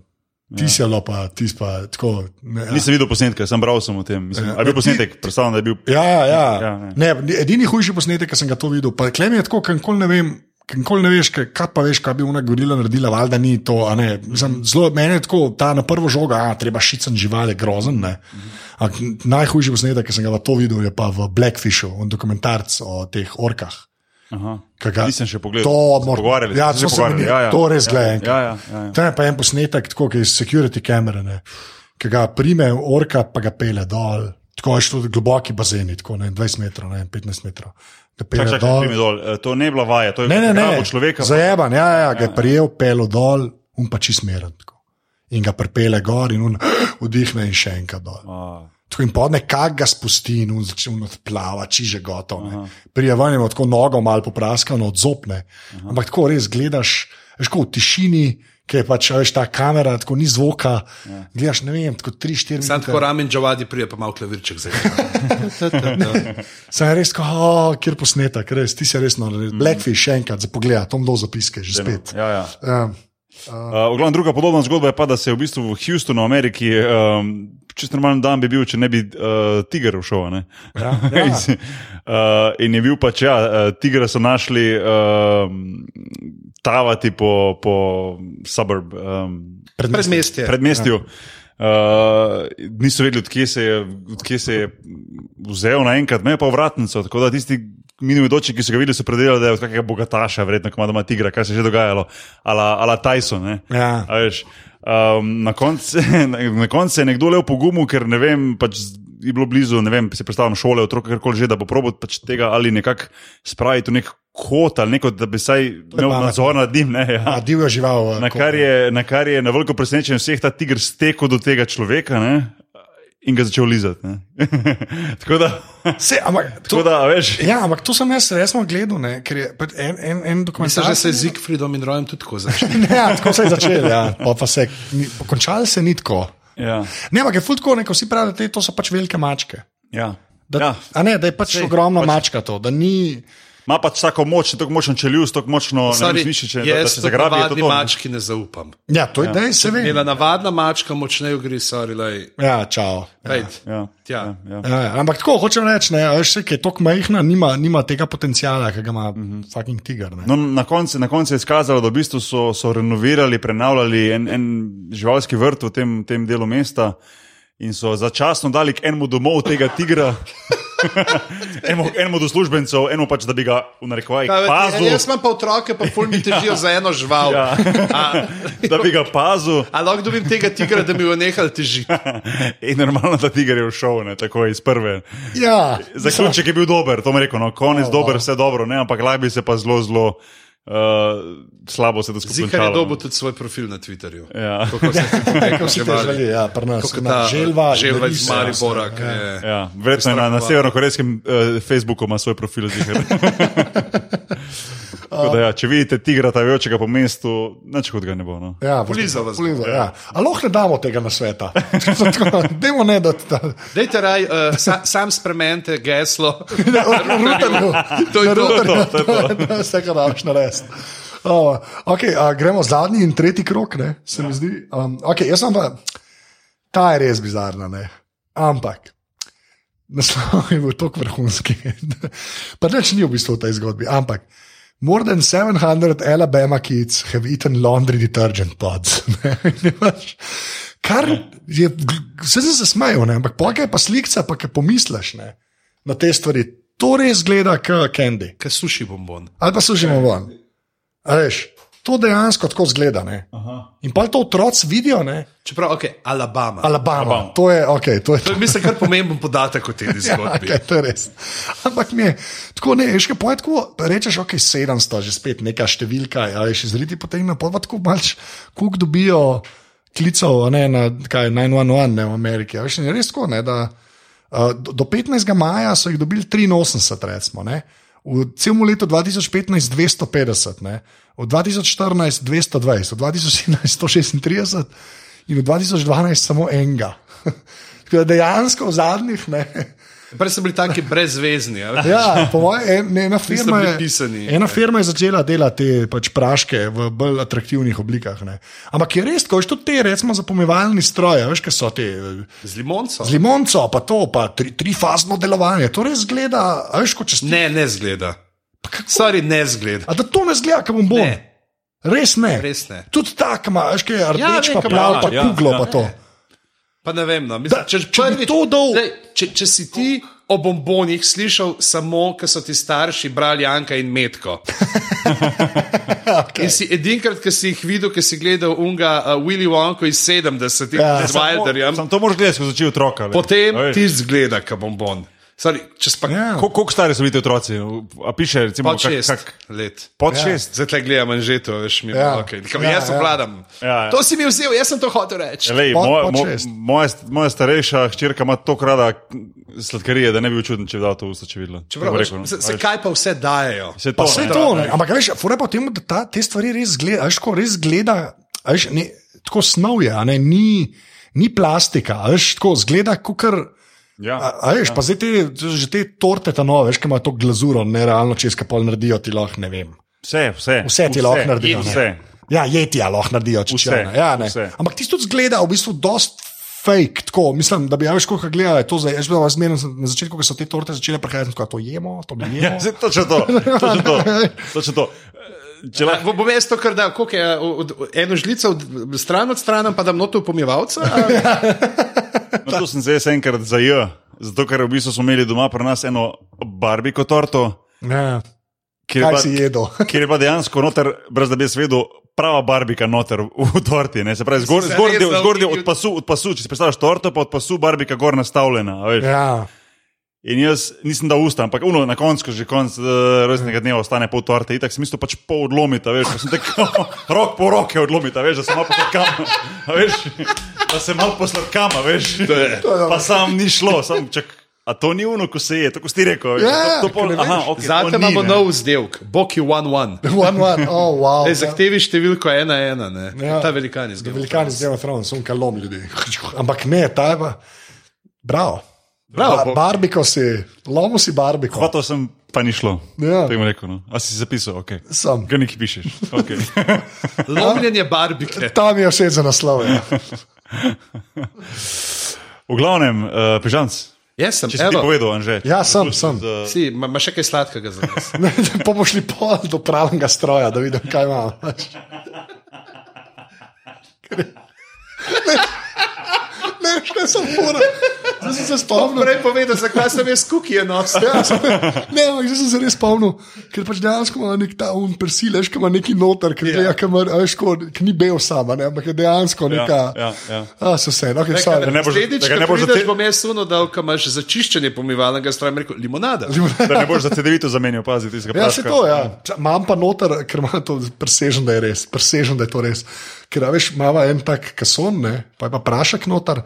ti si bilo pa, ti si pa tako. Ne, ja. Nisem videl posnetka, sem bral sem o tem. Mislim, a je bil posnetek, predstavljam, da je bil. Ja, ja, ja. Ja, ja ne. Ne, edini hujši posnetek, ki sem ga to videl, pa klem je tako, kam koli ne vem. Nikoli ne veš, kaj, kaj pa veš, kaj bi ona gorila naredila, valjda ni to. a ne. Mislim, Zelo meni je tako, ta na prvo žogo, a treba šicen živali, grozen. ne. Ampak Najhujši posnetek, ki sem ga pa to videl, je pa v Blackfishu, on dokumentarc o teh orkah. Aha. ki ga- Nisem še pogledal. To Se mora- pogovarjali, Ja, se že to, se pogovarjali. meni, Ja, ja. to res Ja, gleda enkrat. Ja, ja, ja, ja. Tam je pa en posnetek, tako kot iz security kamere, ne, ki ga prime orka, pa ga pele dol. Tako je šlo globoki bazeni, tako ne, vem, 20 metrov, ne, vem, 15 metrov. Ga pele Čak, čak, dol. Ja, dol. Dol. E, To ne je bila vaja, to je Ne, ne, ne, grabo človeka. Zajeban, ja, ja, ga je prijel, pelo dol, um pa čist meren. Tako. In ga pripele gor in un, [gasps] vdihne in še enkrat dol. A, Tako in podne, kak ga spusti in un začne un odplava, čiže gotovo. Prijevanjem tako nogo malo popraskano od zopne. Aha. Ampak tako res gledaš, veš, kot v tišini, ki je pač a veš, ta kamera, tako ni zvoka. Ja. Gledaš, ne vem, tako 3-4 Sam tako minute. ramen džavadi prije, pa malo klavirček zdaj. Sam je res, kot oh, kjer posnetek, res, ti si res noro. Mm. Blackfish še enkrat za pogled, tam do zapiske, že spet. Ja, ja. Ja. Uh, v glavnem, druga podobna zgodba je pa, da se je v bistvu v Houstonu, v Ameriki, um, čist normalen dan bi bil, če ne bi uh, tiger ušel. a Ne? Ja, [laughs] ja. uh, in je bil pač, ja, uh, tigra so našli uh, tavati po, po suburb, um, Predmestje. Ja. predmestju. Uh, niso vedeli, odkje se je, odkje se je vzel naenkrat, ne pa vratnico. Tako da tisti minimidoči, ki so ga videli, so predelali, da je od kakega bogataša, verjetno, ko ima tigra, kaj se je že dogajalo, ali Tyson. ne. Ja. A veš, Um, na koncu na- na koncu se [laughs] je nekdo le opogumil, ker ne vem, pač z- je bilo blizu, ne vem, si predstavljam šole, otroka, karkoli že, da bo probo pač tega ali nekako spraviti v nek kot ali neko, da bi vsaj imel pametno. nadzor nad njim. Ne, ja. A divja žival. eh, Na ko- kar je na, kar je na veliko presenečenje vseh ta tiger stekel do tega človeka ne? in ga začel lizati. ne. [laughs] tako da, [laughs] Se, ampak, tako to, da, veš. ja, ampak to sem jaz resno gledal, ne, ker je pač en, en, en Se že dokumentarec. se z Zigfridom in Rojem tudi tako [laughs] začne. Ja, tako se je začel, ja. pa, pa se ni- končal se ni tako. Ja, Ne, ampak je fulko, neko vsi pravijo, da te- to so pač velike mačke. ja. Da, Ja. A ne, da je pač Sej, Sej, ogromna pač- pač... mačka to, da ni. Ima pač tako močno, tako močno čeljust, tako močno Stari, mišiče, da, da Jaz se tudi zagrabi. je To navadni to, ne. mački ne zaupam. Ja, to je ja. dej, se ve. Njena navadna mačka močneje gre, sorry, lej. Ja, čau. Ej, Ja, Tja. ja, ja. Ja, ja, ampak tako hočem reči, ne, a veš, saj, ki je tako majhna, nima, nima tega potencijala, ki ga ima mm -hmm. fucking tiger. Ne. No, na koncu na koncu je izkazalo, da v bistvu so, so renovirali, prenavljali en, en živalski vrt v tem, tem delu mesta in so začasno dali k enemu domov tega tigra, [laughs] enemu, enemu do službencev, enemu pač, da bi ga v narekovajih Pa, veš, pazil. jaz imam pa otroke, pa pol mi težijo ja. za eno žival. Ja. A, [laughs] Da bi ga pazil, [laughs] a lahko dobim tega tigra, da mi jo nehal težiti. in normalno, da tiger je šel, ne tako iz prve. Ja, [laughs] Zaključek je bil dober, to mi je rekel, no, konec oh, dober, vse dobro, ne, ampak laj bi se pa zelo, zelo uh, slabo se to skupaj Zikar je končalo, no. dobil tudi svoj profil na Twitterju. Ja. Kako se je Vsi te želi, ja, pri nas. Kot na ta eh, želva, želva Nerisa, iz Maribora. vse, ki ja. je- Ja, verjetno je na, na severno-korejskem uh, Facebooku ima svoj profil zihar. [laughs] Tako da, ja, če vidite tigra tajočega po mestu, nič kot ga ne bo. No. Ja, Poliza vas bo. poliza, ja. A lahko ne damo tega na sveta. [laughs] Tako, Dajmo ne, da da- [laughs] Dajte raj, uh, sa, sam spremenite geslo. [laughs] na routerju. To je Na to. routerju, to je to. [laughs] da Vse, kar daš narediti. Uh, okay, a, gremo zadnji in tretji krok, ne, se mi zdi. Um, okay, jaz sem pa, ta je res bizarna, ne. ampak naslov je bil tako vrhunski. [laughs] pa neč ni v bistvu v tej zgodbi, ampak. More than 700 Alabama kids have eaten laundry detergent pods. [laughs] Ne, in imaš- Kar je, vse se zasmejo, ne, ampak pokaj pa slikca, pa ki pomisliš ne, na te stvari. To res gleda kot candy Kaj suši bombon. ali pa služimo ven. A Veš, to dejansko tako zgleda. Ne? In pa to otroci vidijo, ne? Čeprav, ok, Alabama. Alabama. Alabama. To je, okay, to je To je, mislim, kar pomemben podatek o [laughs] tej Ja, zgodbi. Okay, to je res. Ampak mi je tako ne, veš, kaj pojdi tako. Rečeš, ok, 700, že spet neka številka, ja, ali še zriti potegne pod, pa tako malč, kuk dobijo klicev, a ne na kaj 911 ne, v Ameriki. a Veš, in je res tako, ne, da uh, do do 15. maja so jih dobili 83, recimo. Ne. V celem letu 2015 250, ne? v 2014 220, v 2017 136 in v 2012 samo enega. [laughs] Tako da dejansko v zadnjih. Ne, Prej so bili taki brezvezni. a veš. Ja, po mojem, en, ena, bili firma je, pisani. ena firma je začela delati te pač praške v bolj atraktivnih oblikah. Ne. Ampak je res, ko je to te, recimo, zapomevalni stroje, veš, kaj so te. Z limonco. Z limonco, pa to, pa tri, trifazno delovanje. To res zgleda, a veš, kot če ste. Ne, ne zgleda. Sorry, ne zgleda. A da to ne zgleda, kot bom bom. Ne. Res ne. Res ne. Tudi tako ima, veš, kaj je vem, rdeč, ja, pa kaj plav, ima, pa ja, ja, kuglo, ja. ja, pa to. Pa ne vem, no. Mislim, Da, če bi to dal- Zdaj, če, če si ti o Oh. bombonih slišal samo, ker so ti starši brali Janka in [laughs] Metko. Okay. In si edinkrat, ki si jih videl, ki si gledal unga uh, Willy Wonka iz 70-ih Ja. ja, z Wilderjem, Sam to moraš gledati skozi oči otroka. le. potem A veš. ti zgleda, kot bombon. Sorry, če si pa Ja. yeah. Ko- Koliko stari so bili ti otroci? A piše, recimo, pod kak- šest kak- let. Pod Ja. šest. Zdaj tle gledam manžeto, veš mi, Ja. ja. okay. Kam, Ja, ja, jaz ja. obvladam. Ja, ja. To si mi vzel, jaz sem to hotel reči. Lej, Pod- moja, pod mo, šest. moja, st- moja starejša hčerka ima to krada sladkarije, da ne bi bil čuden, če bi dal to v usta, če bi videla. Čeprav, Bi veš, rekel, no, se, a se veš. kaj pa vse dajejo? Saj to, Pa ne. vse to, ne. Ampak veš, fore pa v tem, da ta, te stvari res gleda, veš, ko res gleda, a veš, ne, tako snov je, a ne, ni, ni plastika, a veš, tako zgleda, kot kar. Ja. A, a veš, pa zdaj te, že te torte, ta nove, veš, ki imajo to glazuro, nerealno, če skapol naredijo, ti lahko ne vem. Vse, vse. Vse ti lahko naredijo, ne. Vse. Ja, jeti ja, lahko naredijo, če Vse, če ne. Ja, ne. vse. Ampak tisto zgleda v bistvu dost. Fake, tako, mislim, da bi ja, veš, kako gledali to zdaj. Jaz sem bila zmerno na začetku, ko so te torte začele prihajati, tako, a to jemo, to ne jemo. Ja, saj točno to. Točno to. Točno to. Če Ja, [laughs] lahko. bo- Bom jaz to kar dal, koliko je od, od, eno žlico od, stran od stran, pa da mnoto [laughs] pomivalca. ali- No, to sem se jaz enkrat zajel, zato ker v bistvu smo imeli doma pri nas eno barbiko torto, Ja, [laughs] kjer je kaj bila- si jedel? Ker je pa dejansko noter, brez da bi jaz vedel, prava barbika noter v torti. Ne? Se pravi, zgor- Si se zgornji res del, zgornji del navdihnil. od pasu, od pasu, če si predstavljaš torto, pa od pasu barbika gor nastavljena. a veš. Ja. [laughs] In jaz nisem dal usta, ampak uno, na koncu, ko že konc uh, rojstnega dneva ostane pol torte, itak sem mislil pač pol odlomiti, a veš, pa sem tako [laughs] rok po roke odlomiti, a veš, da se malo posladkam, [laughs] a veš, da se malo posladkam, a veš, pa sam ni šlo, sam čak, a to ni uno, ko se je, tako si ti rekel, a veš, Ja, to, to pol, ker ne aha, veš. okay, Zate No, to ni, imamo ne. nov izdelek, Boki 1-1. One, one. Oh, wow. Ej, Zahtevi številko 1-1, Ja. ja. ta velikan iz Game of Velikani z Game of Thrones, on kalom ljudi. Ampak ne, ta je pa. Bravo. Bravo, Ba- Bog. barbiko si, lomo si barbiko. Hotel sem, pa ni šlo. Ja. Tega rekel, no. A si si zapisal, ok. Sem. Ga nekaj pišeš. Okay. Thrones. [laughs] Lomljenje barbike. Ta mi je všeč za naslov. Ja. V glavnem, uh, pižanc. Jaz sem, Če si ti evo, povedal, Anže. Ja, sem, sem. Z, si, ima ima še kaj sladkega za nas. Pa boš šli pol do pravnega stroja, da vidim, kaj imam. Ne, ne, ne, sem fura. Zdaj sem se spomnil. [laughs] Prej povedal, zakaj sem jaz kukije nosil. Ja, sem- [laughs] ne, ampak zdaj sem se res spomnil, ker pač dejansko ima nek ta um persileš, ki ima neki noter, ki gleda, ki ima, a veš, ko- ki ni bel sama, ne, ampak je dejansko Ja. ja, neka. ja, ja. A, so vse, okay, Nekaj, sorry. ne boš- Naslednjič, da ga ko ne boš prideš, zate- bom jaz suno dal, ko imaš za čiščenje pomivalnega stroja, bom rekel, limonada. Da ne boš za CD-vito zamenjal, pazi, ti si ga Ja, se to, ja. Ča- Imam pa noter, ker imam to presežen, da je res, presežen, da je to res. Ker a veš, imamo en tak kason, ne, pa je pa prašek noter,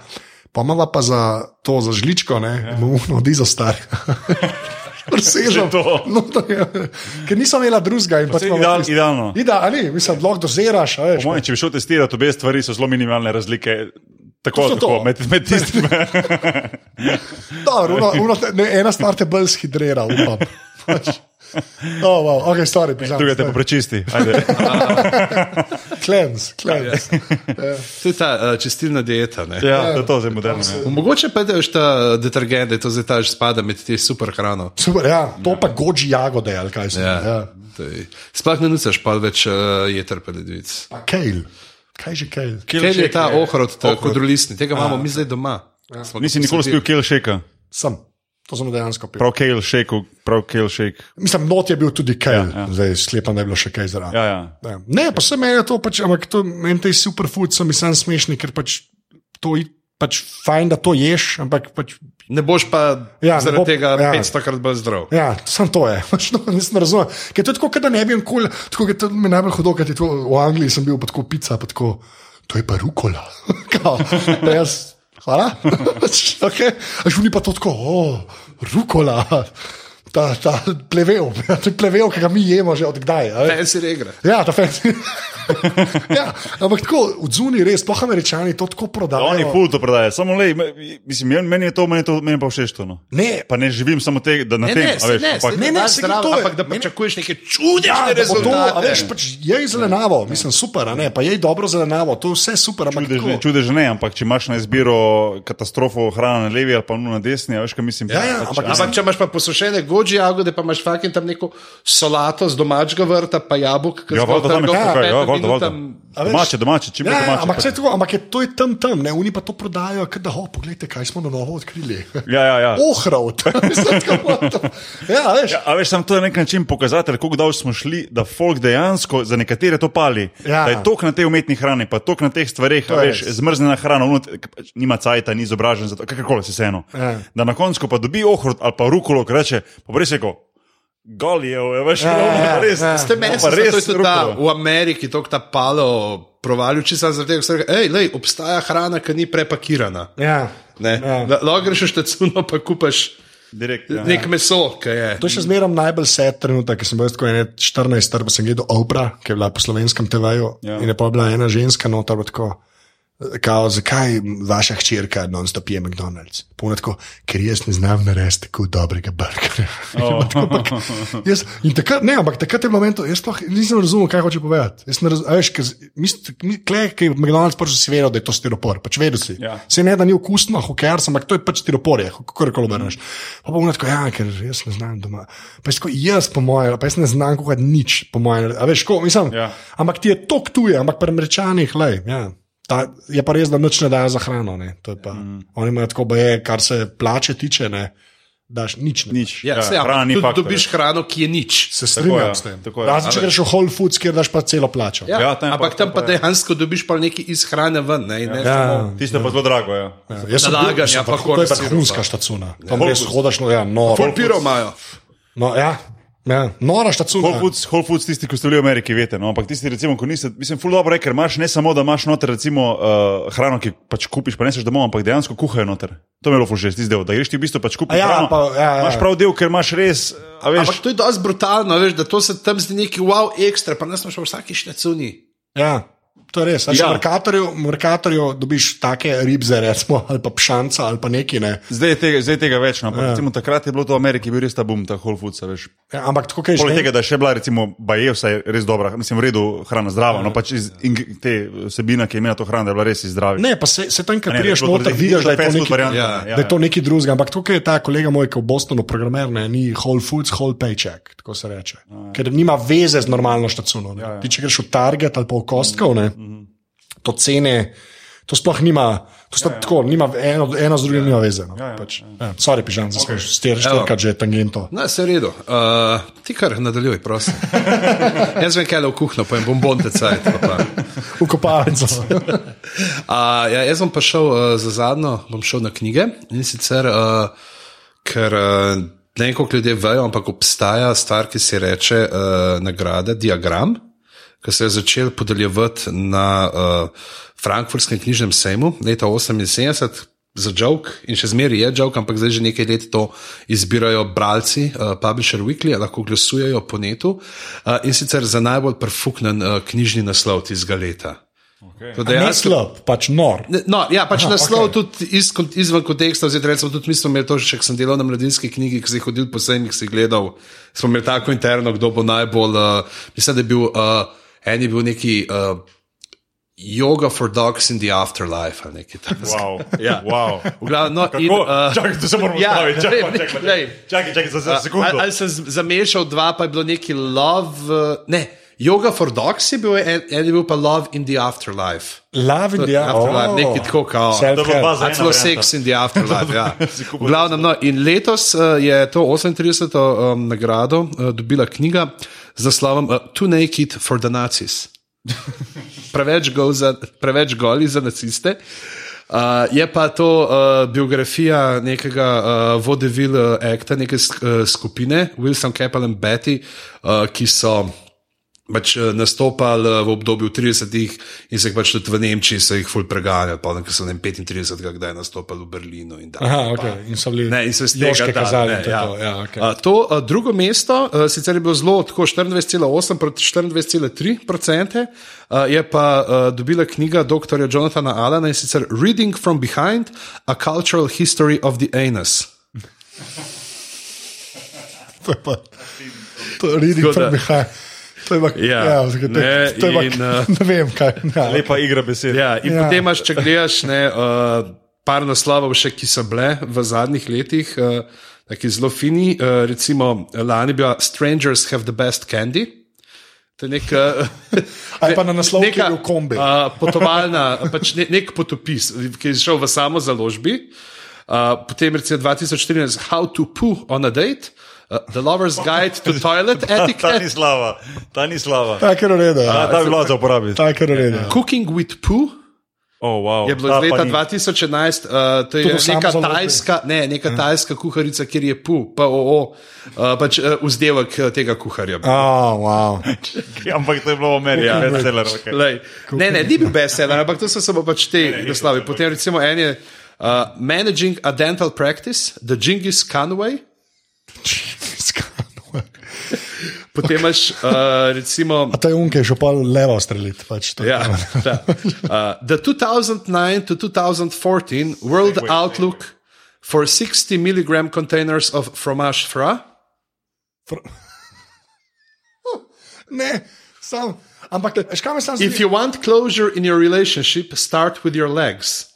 pa imamo pa za to, za žličko, ne, ja. umno dizo [laughs] star. presežen. Že to. Noter, je, ker nisem imela drugega in pač saj imamo ideal- tisto. idealno. Idealno, mislim, lahko dozeraš, a veš. Moj, če bi šel testirati obe stvari, so zelo minimalne razlike. Tako, so tako, to. to. med, med tistimi. Dobro, uno, uno, te- ne, ena stvar te bolj shidrira, upam. [laughs] Pač. Oh, wow. Ok, stari, Druga te pa prečisti. Ajde. Klens, klens. To je ta uh, čistilna dieta. Ne? Ja, to je to zdaj moderno. ja. Mogoče pa da je ta detergent, da je to zdaj ta že spada med te super hrano. [laughs] Super, ja, to pa goji jagode, ali kaj se Ja. ja. To je- Sploh ne nucaš pa več uh, jeter peledvic. Kejl, kaj že kejl? Kaj je ta Ja, je- ohrot, ta kodrolisni, tega imamo Ja. mi zdaj doma. Smo ga Nisi nikoli spil posadili. kale shake, Sem, to sem dejansko pil. prav kale shake, prav kale shake. Mislim, not je bil tudi kejl, ja, ja. zdaj sklepam, da je bilo še kaj zraven. Ja, ja. Ja. Ne, pa se meni je to pač, ampak to meni te superfood so mi sam smešni, ker pač to je pač fajn, da to ješ, ampak pač, Ne boš pa Ja, ja, ne zaradi bo- bo, tega ja. ja. 500 krat bolj zdrav. ja, sam to je. [laughs] Pač, no, nisem razumel. Ker to je tako, kot da ne bi nikoli, tako kot mi je najbolj hudo, ker je to v Angliji sem bil pa tako pica, pa tako, to je pa rukola. [laughs] Kao, pa jaz, hvala. [laughs] Pač, okay. Až oni pa to tako, oh, rukola. [laughs] Ta, [laughs] ja, ta plevel, ta plevel, ki ga mi jemo že od kdaj. a veš. Fancy regre. Ja, ta fancy. [laughs] ja, ampak tako, od zunaj res, sploh američani to tako prodajajo. Oni pol to prodajajo, samo le, mislim, meni- meni je to, meni, je to, meni je pa všeč to. No. Ne. Pa ne živim samo tega, da na Ne, tem, ne, a saj veš, ne, ampak- saj Ne, ne, saj zdravo, to je- ampak da ne. pričakuješ neke čudežne Ja, da bo to, a rezultate. veš, pač je zelenavo, mislim, super, a ne, pa je dobro zelenavo, to je vse super, ampak Čudežne, tako. čudežne, ampak če imaš na izbiro katastrofo hrane na levi ali pa nuno na desni, a veš, kaj mislim. Ja, ja, ampak- Ampak, če imaš pa posušene goji jagode, pa imaš fucking tam neko solato z domačega vrta, pa jabolk, ki Ja, valjda tam je trgal po tako, ja, petih valjda, valjda. minutah. A veš- Domače, domače, čim bolj Ja, ja, domače. ampak, pa- saj tako, ampak je, to je tam tam, ne, oni pa to prodajajo, kot da, ho, poglejte, kaj smo na novo odkrili. [laughs] Ja, ja, ja. Ohrov, [laughs] tam je tako. Ja, veš. A veš, samo to je na nek način pokazatelj, kako dolgo smo šli, da folk dejansko za nekatere to pali. Ja. Da je tok na tej umetni hrani, pa tok na teh stvareh, a je veš, res. zmrznjena hrana, ono, ki pač nima cajta, ni izobražen, zato, kakorkoli se vseeno. Ja. Da na koncu pa dobi ohrot ali pa rukolo, ki reče, pa res je rekel, golijev, je, veš, Ja, ono ja, pa res. ja. Ste meni ono No, pa res res tudi ta, rukolo. v Ameriki to ta palo provalil, čisto zaradi tega, ker so rekli, "Ej, lej, obstaja hrana, ki ni prepakirana. Ja. Ne. Da- Lahko greš v štacuno, pa kupaš Direkt, ja. nek meso, ki je. To je še zmeraj najbolj sad trenutek, ker sem bil jaz tako ene 14 star, pa sem gledal Oprah, ki je bila po slovenskem TV-ju Ja. ja. in je pa bila ena ženska noter pa tako. eh, Kao, zakaj vaša hčerka non-stop je McDonald's? Puno tako, ker jaz ne znam narediti tako dobrega burgerja. No. [laughs] Oh. jaz, in takrat, ne, ampak takrat je bilo meni to, jaz sploh nisem razumel, kaj hoče povedati. Jaz ne razumem, veš, ker z- mis- mi- tule, ki je McDonald's pač si vedel, da je to stiropor, pač vedel si. Ja. Se ne, da ni okusno, hokear sem, ampak to je pač stiropor, kako koli obrneš. Pa bom rekel, ja, ker jaz ne znam doma. Pa jaz, tako, jaz po mojem, pa jaz ne znam kuhati nič, po mojem. A veš, ko, mislim, ja. Ja. ampak ti je to tuje, ampak pri američanih, lej, ja. Ta, je pa res, da noč ne dajo za hrano. Ne. to je Pa, mm. Oni imajo tako, baje, kar se plače tiče, ne, daš nič. Ne. [laughs] Nič. Ja, saj, hrana ampak ni tudi faktor, dobiš hrano, ki je nič. Se Tako strinjam je, s tem. tako je. Razen, če A veš- greš v Whole Foods, kjer daš pa celo plačo. Ja, Ja, tam je pa- ampak tam pa dejansko dobiš pa nekaj iz hrane ven. Ne, in ne samo- Ja. Tisto je pa zelo drago. Ja. Ja, Jaz sem Nalaganja, mislim, pa pa, to je pa korn sirupa. hunska štacuna. Tam res hodaš, no, ja, noro. Pol piro imajo. No, ja, ja. Nora štacuna. Whole Foods, Whole Foods, tisti, ki ste bili v Ameriki, veste. No? Ampak tisti, recimo, ko niste, mislim, ful dobro je, ker imaš ne samo, da imaš noter recimo, uh, hrano, ki pač kupiš, pa neseš domov, ampak dejansko kuhajo noter. To mi je bilo ful všeč, tisti del, da greš ti v bistvu pač kupiš. A ja, hrano, pa, ja, ja. Imaš prav del, ker imaš res, a veš, Ampak to je dosti brutalno, veš, da to se tam zdi neki wow ekstra, pa nas imaš v vsaki štacuni. Ja, to je res. Ja. Ja. V Merkatorju, v Merkatorju dobiš take ribze, recimo, ali pa pšanca ali pa neki. Ne. zdaj je tega, zdaj je tega več. No? Ampak ja. recimo takrat je bilo to v Ameriki, bil res ta boom, ta Whole Foods, a veš. Ja, ampak tako kaj Poleg že. tega, da je še bila, recimo, baje, vse res dobra, mislim, v redu, Ja. hrana zdrava, no pač iz in, te vsebina, ki je imela to hrano, da je bila res iz zdrave. Ne, pa se, se tam, A kjer ne, priješ da je bilo noter, to vidiš, da je to fast food nekaj, varianta, Ja, ne, da je to nekaj drugega. Ampak tukaj je ta kolega moj, ki je v Bostonu programer, ne, ni whole foods, whole paycheck, tako se reče. ja. Ker nima veze z normalno štacuno. ne. Ti, če greš v Target ali pa v Kostkov, ne, Mhm. to cene, to sploh nima, to sploh tako, nima eno, eno z drugim nima veze. No, Ja, ja, pač. ja. Sorry, pižam, da smo štirikrat že tangento. No, se redo. Uh, ti kar nadaljuj, prosim. Jaz vem, kaj je v kuhinji, pojem bombon tecaj. V [laughs] kopalnico. Uh, ja, jaz bom pa šel uh, za zadnjo, bom šel na knjige in sicer, uh, ker uh, ne vem, koliko ljudje vejo, ampak obstaja stvar, ki se ji reče uh, nagrada, diagram, ki se je začel podeljevati na uh, Frankfurtskem knjižnem sejmu leta 78. Za žog in še zmeraj je žog, ampak zdaj že nekaj let to izbirajo bralci, uh, Publisher Weekly, lahko glasujejo po netu uh, in sicer za najbolj prfuknen uh, knjižni naslov tistega leta. Okay. Ne slab, pač nor. Ne, No, ja, pač Aha, naslov okej. okay. tudi iz, kon- izven konteksta, oziroma recimo tudi mi smo imeli to še, ko sem delal na mladinski knjigi, ki sem jih hodil po sejmih, si gledal, smo imeli tako interno, kdo bo najbolj, uh, mislim, da je bil, uh, en je bil neki uh, yoga for dogs in the afterlife ali nekaj takega. [laughs] Wow. Ja. wow. V glavnem, no, in, Kako? uh, Čakaj, to se moramo ja, ustaviti. Čakaj, ne, čakaj, čakaj. glej. Čakaj, čakaj, za- za sekundo. Ali, ali sem z- zamešal dva, pa je bilo neki love, uh, ne, yoga for dogs je bil, en, en je bil pa love in the afterlife. Love in the Afterlife, oh. nekaj tako kao. To bo Self-help. pa A za eno celo varianto. seks in the afterlife. ja. Si kupil V glavnem, no, in letos uh, je to 38. Um, nagrado uh, dobila knjiga z naslovom uh, Too Naked for the Nazis. preveč, gol za, preveč goli za naciste. Uh, je pa to uh, biografija nekega uh, vodevil uh, akta, neke sk, uh, skupine, Wilson, Keppel in Betty, uh, ki so pač eh, nastopali eh, v obdobju 30-ih in se jih pač tudi v Nemčiji se jih ful preganjali, pa nekaj so ne vem, 35, kdaj je nastopali v Berlinu in tako. Aha, okay. In so bili Ne, in se iz tega joške da, kazali. ne, to je ja. to, ja, okay. A, To a, drugo mesto, a, sicer je bilo zelo tako 24,8 proti 24,3 procente, je pa a, dobila knjiga dr. Jonathana Alana in sicer Reading from Behind: A Cultural History of the Anus. To je pa, to je reading Tako da- from behind. To je pa, Ja, ja, ja, to, ne, ne, to je [laughs] pa, in, in, eh, ne vem kaj. Ja, Lepa igra besed. Ja, in ja. Ja. potem imaš, če gledaš, ne, uh, par naslovov, še, ki so bile v zadnjih letih, uh, tako zelo fini. Uh, recimo lani je bila Strangers Have the Best Candy. To je nek, uh, Ali pa na naslovu, ki je bil kombi. Uh, potovalna, pač ne, nek potopis, ki je šel v samo založbi. Uh, potem recimo 2014 How to Poo on a Date, uh, The Lover's Guide to [laughs] Toilet [laughs] Ta Etiquette. ni slava, ta ni slava. ta je kar ureda. Ta, ta bi bila za uporabiti. Ta je kar ureda. Cooking with poo, Oh, wow. Je bilo Ta iz pa leta [laughs] ni. 2011, uh, to je v neka Samsungu. tajska, ne, neka tajska kuharica, kjer je pu, pa oo, uh, pač uh, vzdelek uh, tega kuharja. Oh, wow. Ampak to je bilo v Ameriki, Ja. bestseller. Okay. [laughs] Lej, ne, ne, ni bil bestseller, ampak to so samo pač te naslove. Potem recimo en je uh, Managing a Dental Practice, The Jingis Conway. Skano. Potem imaš uh, recimo A ta je unke, še pa levo streljiti. Pač, [laughs] to je Ja, da. Uh, the 2009 to 2014 World Outlook for 60 milligram containers of fromage fra. [laughs] Ne, sam. Ampak, veš, kaj me sam If zdi? you want closure in your relationship, start with your legs.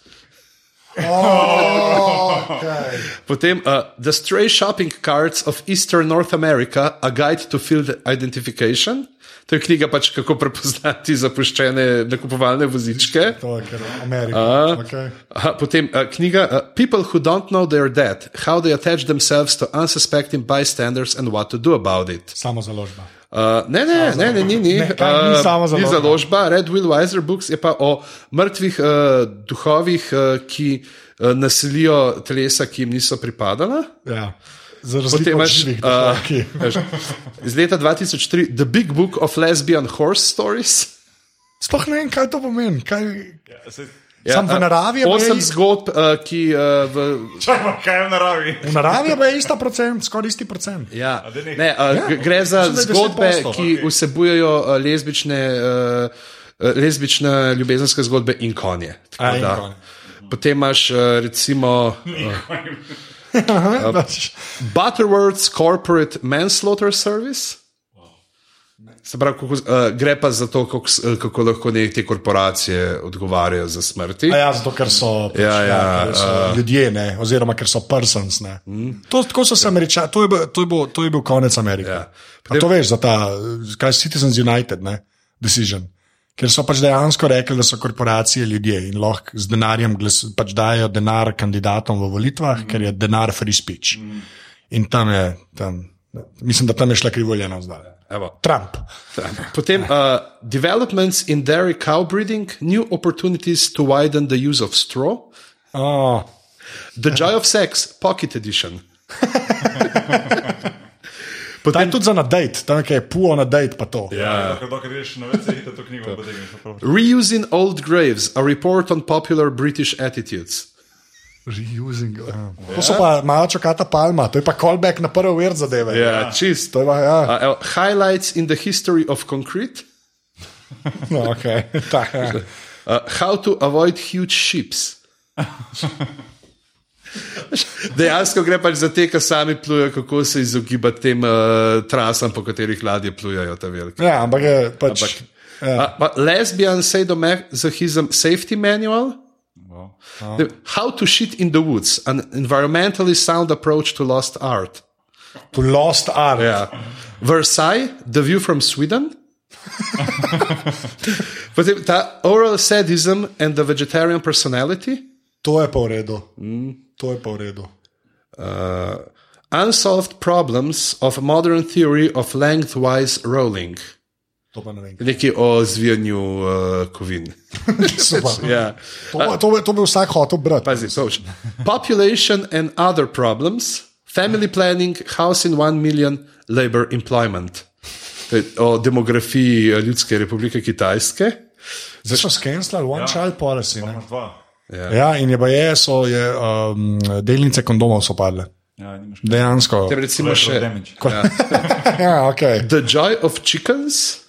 Potem uh, The Stray Shopping Cards of Eastern North America, A Guide to Field Identification. To je knjiga, pač, kako prepoznati zapuščene nakupovalne vozičke. To je kar Amerika. Uh, okay. Aha, potem uh, knjiga uh, People Who Don't Know They're Dead: How They Attach Themselves to Unsuspecting Bystanders and What to Do About It. Samo založba. Uh, ne, ne, ne, ne, ni, ni. Ne, kaj, ni Uh, samo ni založba. založba. Red Will Weiser Books je pa o mrtvih uh, duhovih, uh, ki uh, naselijo telesa, ki jim niso pripadala. Ja. Za Potem razliko od imaš, živih, uh, uh, ki veš, iz leta 2003 The Big Book of Lesbian Horse Stories. Sploh ne vem, kaj to pomeni. Kaj... Ja, se- Ja, Sam v a, naravi je Osem baje- zgodb, uh, ki uh, v Čakaj, kaj je v naravi? V naravi je pa ista procent, skoraj isti procent. Ja. da ni? Ne, a, g- gre za Mislim, da je zgodbe, 10%, ki okay. vsebujejo a, lezbične, a, a, lezbične ljubezenske zgodbe in konje. Tako A, in da. konje. Potem imaš a, recimo [laughs] Aha, pač. Butterworth's Corporate Manslaughter Service. Se pravi, kako, uh, gre pa za to, kako, s- eh, kako lahko nek- te korporacije odgovarjajo za smrti. A Ja, zato, ker so, pač, Ja, ja, ker so uh, ljudje, ne, oziroma ker so persons. Ne. To, tako so se američani, to, je bil- to, je bil- to je bil konec Amerike. Ja. Ja. Potem... To veš za ta, eh, kaj je Citizens United, ne, decision. Ker so pač dejansko rekli, da so korporacije ljudje in lahko z denarjem glas, pač dajo denar kandidatom v volitvah, mm. ker je denar free speech. Mm. In tam je, tam, mislim, da tam je šla krivoljena zdaj. Evo. Trump. Potem uh, Developments in Dairy Cow Breeding, New Opportunities to Widen the Use of Straw. Oh. The Joy of Sex, Pocket Edition. Ta je tudi za na dejt, tam je kaj, puo na dejt, pa to. Yeah. Ja, dokler greš na vece, idete to knjigo, potegneš. Reusing Old Graves, a report on popular British attitudes. Reusing. Ja. To so pa malo čakata palma, to je pa callback na prvo ver zadeve. Ja, To čisto. je pa, ja, Uh, evo, highlights in the history of concrete. no, okay. [laughs] tak, ja. Uh, how to avoid huge ships. Dejansko gre pač za te, ki sami plujejo, kako se izogibati tem uh, trasam, po katerih ladje plujejo ta velika. ja, ampak je pač. Ampak- ja. Uh, but lesbian sadomasochism um, safety manual. The- How to shit in the woods, an environmentally sound approach to lost art. To lost art. Yeah. Versailles, the view from Sweden. [laughs] Potem ta oral sadism and the vegetarian personality. To je pa v redu. Mm. To je pa v redu. Uh, unsolved problems of modern theory of lengthwise rolling. To pa ne vem. [laughs] Nekaj o zvijanju uh, kovin. Super. [laughs] Ja. To, to, to bi vsak hotel brati. [laughs] Pazi, to še. Population and other problems, family planning, house in one million, labor employment. o demografiji Ljudske republike Kitajske. Zdaj so skenirali one ja. child policy. Ne? Dva. Ja, in je pa je, so je, um, delnice kondomov so padle. Ja, nimaš kaj. Dejansko. [laughs] Tem recimo še Damage. Ko- ja, okay. The Joy of Chickens.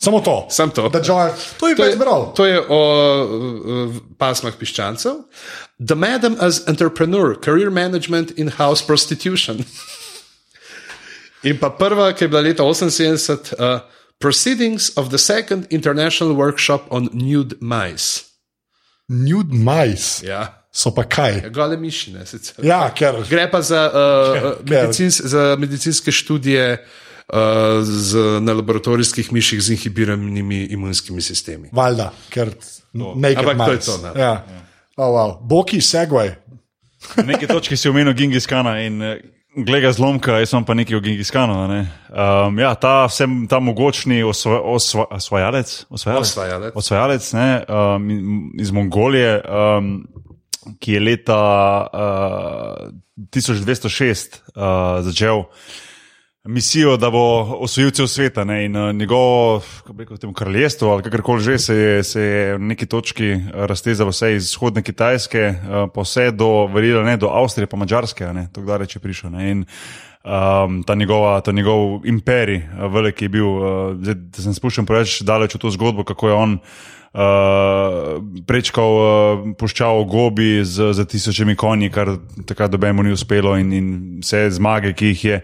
Samo to. Samo to. Da, Joy, to je To pa je, izbral. to je o uh, pasmah piščancev. The Madam as Entrepreneur, Career Management in House Prostitution. [laughs] In pa prva, ki je bila leta 78, uh, Proceedings of the Second International Workshop on Nude Mice. Nude mice Ja, so pa kaj. gole mišine sicer. Ja, ker Gre pa za, uh, uh, medicins, za medicinske študije uh, z, na laboratorijskih miših z inhibiranimi imunskimi sistemi. valjda, ker nekaj Ampak to je to, ne. Ja. Oh, wow. Boki, segway. Na neki točki si omenil Gengiskana in gleda zlomka, jaz sem pa nekaj o Gengiskanu. a Ne? Um, ja, ta, sem, ta mogočni osva, osva, osvajalec, osvajalec, Osvajalec. osvajalec ne, um, in- iz Mongolije, um, ki je leta uh, 1206 uh, začel. Misijo, da bo osvojil cel svet, ne, in uh, njegovo kako bi rekel, temu kraljestvo, ali kakorkoli že, se je, se je v neki točki eh, raztezalo vse iz vzhodne Kitajske, eh, pa vse do, verjela, ne, do Avstrije, pa Mačarske, a ne, tako da reče prišel. Ne, in, Um, ta, njegova, ta njegov imperij, eh, velik je bil, uh, zdaj, da sem spuščen preveč daleč v to zgodbo, kako je on uh, prečkal uh, puščavo Gobi z, z tisočimi konji, kar takrat dobemu ni uspelo, in, in vse zmage, ki jih je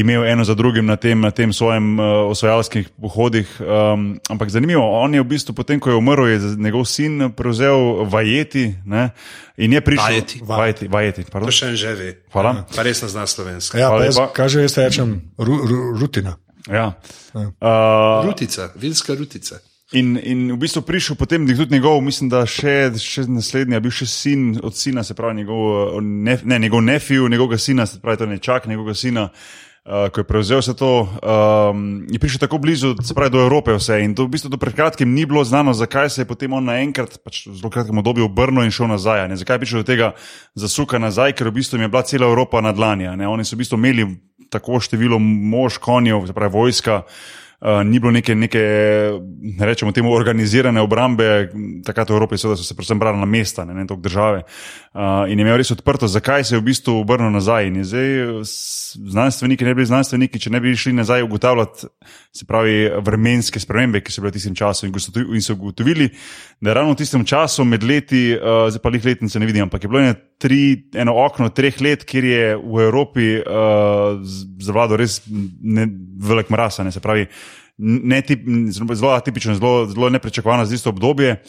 imel eno za drugim na tem, na tem svojem uh, osvajalskih pohodih. Um, ampak zanimivo, on je v bistvu potem, ko je umrl, je z- njegov sin prevzel vajeti ne, in je prišel. Vajeti. vajeti, vajeti pardon. To še en že ve. Hvala. Pa res ne zna slovenska. Ja, Hvala pa jaz, lepa. kaj že jaz rečem, ru, ru, rutina. Ja. Uh, Rutica, vinska rutica. in, in v bistvu prišel potem tudi njegov, mislim, da še, še naslednji, je bil še sin od sina, se pravi njegov, eh, ne, ne, njegov nefiju, njegovega sina, se pravi ta nečak, njegovega sina. Uh, ko je prevzel vse to, um, je prišel tako blizu, se pravi, do Evrope, vse. In to v bistvu do pred kratkim ni bilo znano, zakaj se je potem on naenkrat, pač v zelo kratkem obdobju, obrnil in šel nazaj. a Ne? Zakaj je prišel do tega zasuka nazaj, ker v bistvu jim je bila cela Evropa na dlanji. a ne. Oni so v bistvu imeli tako število mož, konjev, se pravi vojska. Uh, ni bilo neke, neke, ne rečemo temu, organizirane obrambe, takrat v Evropi seveda so se predvsem branila mesta, ne, ne toliko države. Uh, in je imel res odprto, zakaj se je v bistvu obrnil nazaj. In je zdaj s- znanstveniki, ne bi bili znanstveniki, če ne bi šli nazaj ugotavljati, se pravi, vremenske spremembe, ki so bile v tistem času. In, gostotu- in so ugotovili, da je ravno v tistem času med leti, uh, zdaj pa lih letnice ne vidim, ampak je bilo ene tri, eno okno treh let, kjer je v Evropi uh, z- zavladal res ne, velik mraz. a Ne, se pravi, ne, tip, zelo zelo atipično, zelo, zelo neprečakovano za isto obdobje.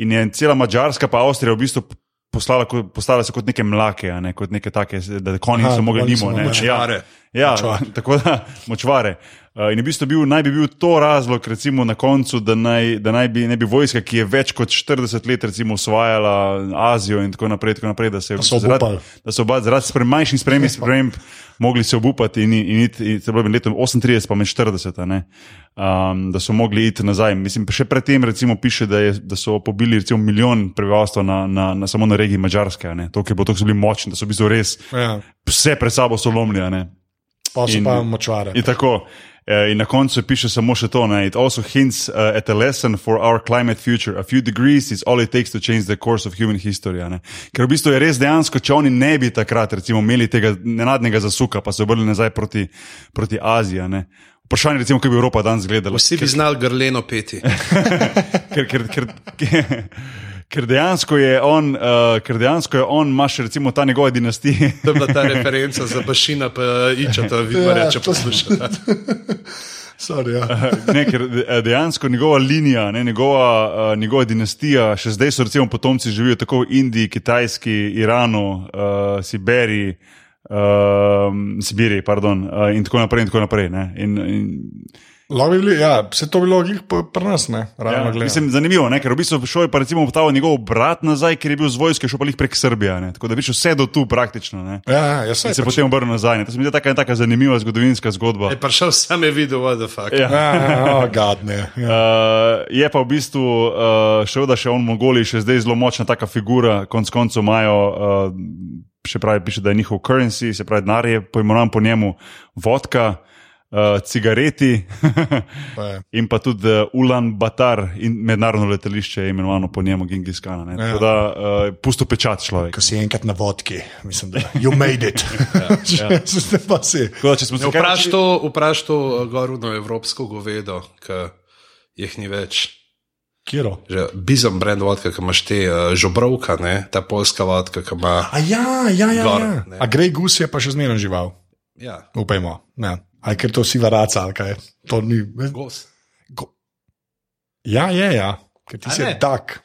In je cela Mačarska, pa Avstrija v bistvu poslala, ko- postala se kot neke mlake, a ne, kot neke take, da konji Aha, niso mogli konji mimo. so ne. mogli. Močvare. Ja, ja, Močvare. [laughs] tako da močvare. Uh, In v bistvu bil, naj bi bil to razlog, recimo na koncu, da naj, da naj bi, ne bi vojska, ki je več kot 40 let recimo, osvajala Azijo in tako naprej, tako naprej da se je v so bistvu zaradi, obupali. da so oba zaradi sprem, manjših sprememb, sprememb mogli se obupati in, in, iti- in se pravi med letom 38 pa med 40, a ne, um, da so mogli iti nazaj. Mislim, še predtem recimo piše, da, je, da so pobili recimo milijon prebivalstva na, na, na, samo na regiji Mačarske, a ne, to, ker bo to so bili močni, da so v bistvu res Ja. vse pred sabo so lomili, a ne. Pa so In- pa močvare. In tako. eh, In na koncu piše samo še to. Ne? It also hints uh, at a lesson for our climate future. A few degrees is all it takes to change the course of human history. a ne. Ker v bistvu je res dejansko, če oni ne bi takrat recimo, imeli tega nenadnega zasuka, pa se obrnili nazaj proti, proti Aziji. a ne. Vprašanje, recimo, kako bi Evropa danes gledala. Vsi bi znali grleno peti. ker, ker, ker, [laughs] ker dejansko je on, uh, ker dejansko je on, imaš recimo ta njegova dinastija. To je bila ta referenca za Bašina, pa Ičata, vidno Ja, reče to- poslušati. [laughs] Sorry, ja. ne, ker de- dejansko njegova linija, ne, njegova, uh, njegova dinastija, še zdaj so recimo potomci živijo tako v Indiji, Kitajski, Iranu, uh, Siberiji. Uh, Sibiriji, pardon, uh, in tako naprej. In tako naprej ne. in, in, Lahko bi bili, ja, vse to bi bilo glih po- pri nas, ne, ravno ja, gledano. mislim, zanimivo je, ker v bistvu šel je pa recimo ta njegov brat nazaj, ker je bil z vojske, šel pa jih prek Srbije. ne. Tako da viš vse do tu praktično. Ne. Ja, ja, jaz In se sem. potem obrnil nazaj. Ne. To se mi zdi taka, taka zanimiva zgodovinska zgodba. Je prišel sam je videl, what the fuck. Ja. Ja, gadne. Ja. Uh, je pa v bistvu uh, še vedno še on Mongoli, še zdaj zelo močna taka figura, konc koncev imajo. eh, Uh, Še pravi, piše, da je njihov currency, se pravi, denar je poimenovan po njemu vodka, uh, uh, cigareti [laughs] in pa tudi uh, Ulan Batar, in mednarodno letališče je imenovano po njemu Gengiskana. Ja. Tako da uh, pusto pečat človek. Ko si enkrat na vodki, mislim, da you made it. ja, [laughs] ja. Zdaj pa si. Tako da, če smo se kaj Vpraš naučili- to, vpraš to eh, goruno evropsko govedo, ki jih ni več. Kjero? Že bizem brend vodka, ki imaš te uh, žobrovka, ne? ta polska vodka, ki ima. A ja, ja, ja. Gor, ja. ne. A grej gus je pa še zmeraj žival, Ja, upajmo. Ne. Ali ker to siva raca, ali kaj. To ni. gos. Go. Ja, je, ja. Ker ti A si ne? tak.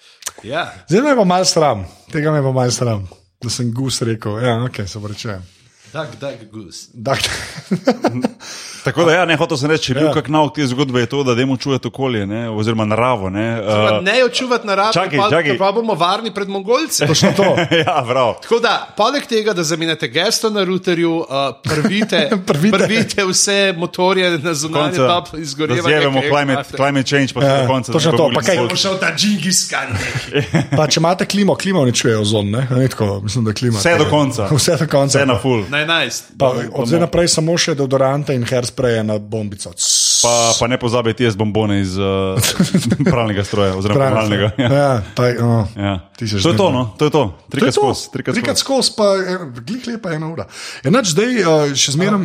Ja. Zdaj me je pa malo sram, tega me je pa malo sram, da sem gus rekel. Ja, ok, se vrčujem. Duck, duck, goose. Dak, Tako da, ja, ne hotel sem reči, ja. kak nauk te zgodbe je to, da demo čujeti okolje, ne, oziroma naravo. Ne, Pa uh, ne jo čuvati na rabu, čakaj, pa, čakaj. pa bomo varni pred Mongolci. točno to. [laughs] ja, prav. Tako da, poleg tega, da zamenjate gesto na routerju, uh, prvite, Prvite. prvite. prvite vse motorje na zunanjem Konca, topu da izgorevanja. zjevemo ki jih climate, imate. climate change, pa se Ja, do konca. točno ne to, bo pa kaj mogli- Bo šel ta džingiskan. [laughs] Pa če imate klimo, klimo ne čuje ozon, ne? ne tako, mislim, da klima. Vse do konca. [laughs] Vse do konca. Vse na full. 11. Pa, od zdaj naprej samo še deodorante in hairspraye na bombico. Css, Pa, pa ne pozabite jesti bombone iz uh, [laughs] pralnega stroja, oziroma pravno. pralnega. Ja. Ja, taj, no. Ja. Ti si že To je to, zmeden. no? to je to. To je Trikrat to. skozi. Trikrat Trikrat skozi. skozi, pa eh, glih lepa ena ura. Enač zdaj eh, še zmeraj.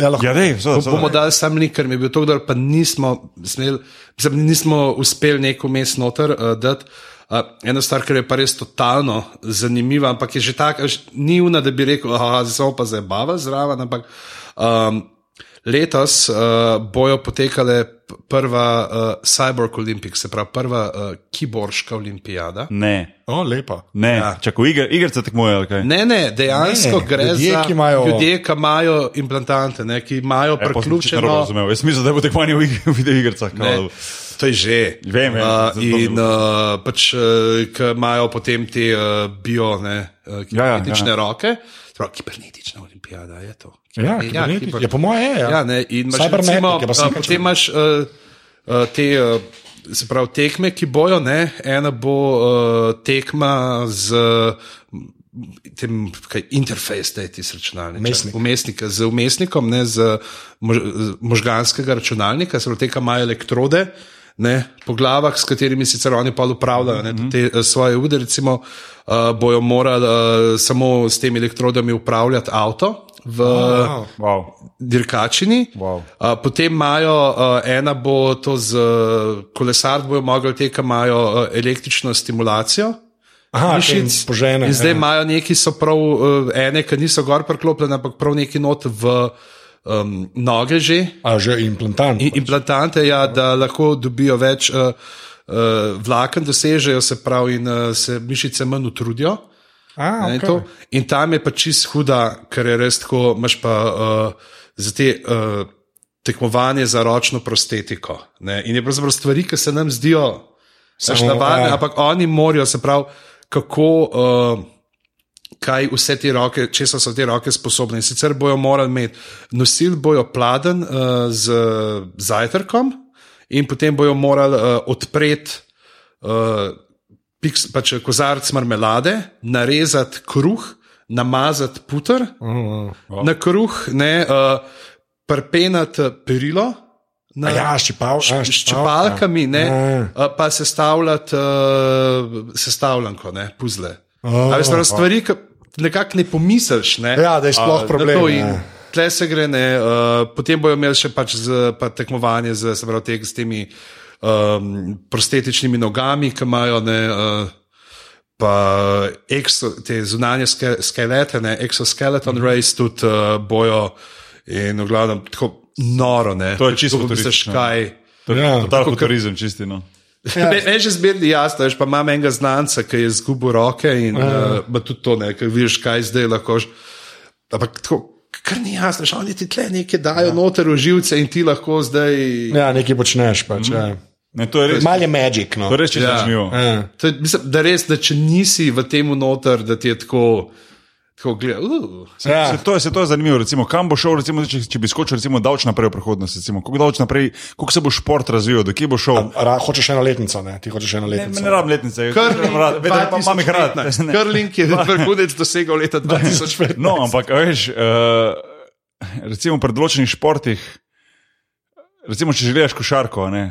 Ja, lahko. Ja, dej, vse, vse, Bomo dali sam link, ker mi je bil to, da pa nismo, smel, mislim, nismo uspeli neko mest noter uh, dati. Uh, ena stvar, ki je pa res totalno zanimiva, ampak je že tako, ni una, da bi rekel, da se pa zdaj bava zraven, ampak um, letos uh, bojo potekale p- prva uh, Cyborg Olympics, se pravi prva uh, kiborška olimpijada. Ne, O, lepa. ne. Ja. čakaj, igr, igrice tekmujejo. ali kaj? Ne, ne, dejansko Ne, ne, gre ljudje, za ki imajo- ljudje, ki imajo implantante, ne, ki imajo E, pa sem očitno narobe priključeno razumel. Jaz mislim, da bo tekmovanje v ig- v videoigricah. Ne, kao- to je že. Vem, vem, Uh, zato in mi- uh, pač, uh, ki imajo potem te uh, bio, ne, uh, Ja, ja, kibernetične ja. ja, ja. roke, prav, kibernetična olimpijada je to. Ja, Kiber- kibernetič- kiber- ja, po moje je. Ja. Ja, ne, in imaš Cybermetik recimo, je pa sem a, kaj potem imaš uh, uh, te. Uh, Se pravi, tekme, ki bojo, ne? ena bo uh, tekma z m, tem, kaj interfejs, da je ti računalnik. Vmesnik. Umestnik, z umestnikom, ne z mož, z možganskega računalnika, se pravi, te, ki imajo elektrode. Ne, po glavah, s katerimi sicer oni pa upravljajo ne, tudi te eh, svoje ude, recimo, uh, bojo morali uh, samo s temi elektrodami upravljati avto v oh, Wow. Wow. dirkačini. Wow. A, Potem imajo, a, ena bo to z kolesar, bojo mogli te, ki imajo a, električno stimulacijo. Aha, mišic. mišic Ah, požene. In zdaj ja. imajo neki, so prav a, ene, ki niso gor priklopljene, ampak prav neki not v um, noge že, A že implantant. in, implantante, ja, da lahko dobijo več uh, uh, vlaken, dosežejo se pravi, in uh, se mišice manj utrudijo. A, Ne, okay. to. In tam je pa čist huda, ker je res tako, imaš pa uh, za te uh, tekmovanje za ročno prostetiko. Ne? In je pravzaprav stvari, ki se nam zdijo Samo, sašnavane, ja. ampak oni morajo, se pravi, kako. Uh, Kaj vse te roke, če so te roke sposobne. In sicer bojo morali imeti, nosili bojo pladen uh, z zajtrkom, in potem bojo morali uh, odpreti uh, piks, pač kozarc marmelade, narezati kruh, namazati puter, Mm, mm. Wow. wow. na kruh, ne, uh, prpenati perilo. A Na, Ja, ščipal, a, s čepalkami, ne, uh, pa sestavljati uh, sestavljanko, ne, puzle. Oh, Oh, Ali so stvari, ki nekako ne pomisliš, ne, Ja, da je sploh na problem. to ja. in Tle se gre, ne, uh, potem bojo imeli še pač z, pa tekmovanje z, se pravi, teh, s temi um, prostetičnimi nogami, ki imajo ne, uh, pa ekso, te zunanje ske, skelete, ne, exoskeleton mm. race, tudi uh, bojo in v glavnem tako noro. Ne, To je čisto misliš, futuristično. kaj. To je Ja. ja, totalni turizem, čisti. No. Ja. Me, meni že zmerno jasno, veš, pa imam enega znanca, ki je izgubil roke in ja. uh, tudi to ne, ker vidiš, kaj zdaj lahko. š- Ampak tako. Kar ni jasno, že oni ti tle nekaj dajo ja. noter v živce in ti lahko zdaj. Ja. ja, nekaj počneš. Pač, ja. Ne, to je res, Mal je magic. No. to je res čisto Ja. zanimivo. Ja. To, je, mislim, da res, da če nisi v tem noter, da ti je tako, tako gleda. Uh. Ja. Se, to, je, se to je zanimivo, recimo, kam bo šel, recimo, če, če bi skočil recimo, davč naprej v prihodnost, recimo, kako, davč naprej, kako se bo šport razvijal, do kje bo šel. Ra, hočeš eno letnico, ne? ti hočeš eno Ne, letnico. ne rabim letnice, Krling, rad, vedno pa imam jih rad. [laughs] Ne. Krling je vrhunec dosegal leta 2015. No, ampak a veš, uh, recimo pri določenih športih, recimo če želiš košarko, ne,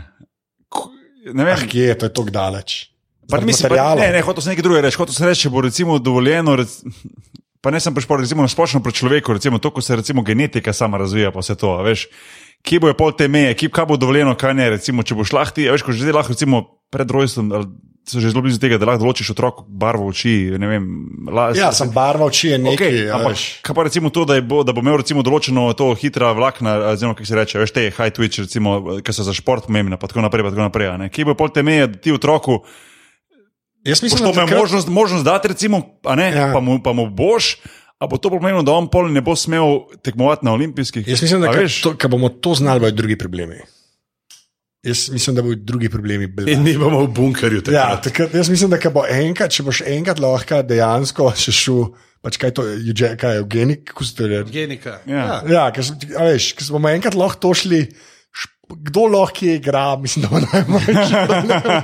ko- ne vem, Ah, kje je to, je tako daleč. Pa Zaradi mislim, pa, materiala. ne, ne, hotel sem nekaj drugega reči. Hotel sem reči, če bo recimo dovoljeno, rec, pa ne sem prišporil, recimo splošno pri človeku, recimo to, ko se recimo genetika sama razvija, pa vse to, a veš. Kje bo pol te meje, kje kaj bo dovoljeno, kaj ne. Recimo, če boš lahti, veš, ko že zdaj lahko recimo pred rojstvom, ali so že zelo blizu tega, da lahko določiš otroku barvo oči, ne vem, las. Ja, sem barva oči, je nekaj. Okay, Okay, ampak, kaj pa recimo to, da je bo, da bo imel recimo določeno to hitra vlakna, oziroma kako se reče, veš, te high twitch, recimo, ki so za šport pomembna, pa tako naprej, pa tako naprej. a ne. Kje bo pol te meje, da ti otroku, Jaz Boš mislim, to da imel takrat- možnost, možnost dati, recimo, a ne, Ja. ja. pa, mu, pa mu boš, a bo to pomenilo, da on pol ne bo smel tekmovati na olimpijskih. Jaz mislim, da A ka- veš? to, [laughs] ka bomo to znali, bodo drugi problemi. Jaz mislim, da bodo drugi problemi. bili. In mi bomo v bunkerju Ja, takrat. takrat, jaz mislim, da ka bo enkrat, če boš enkrat lahko dejansko še šel, pač kaj to je, euge- kaj je eugenik, kako se to reče. Genika. Ja. Ja, ker sem- a veš, ker smo enkrat lahko to šli. šp- Kdo lahko kje igra, mislim, da bo najmanj. [laughs] [laughs]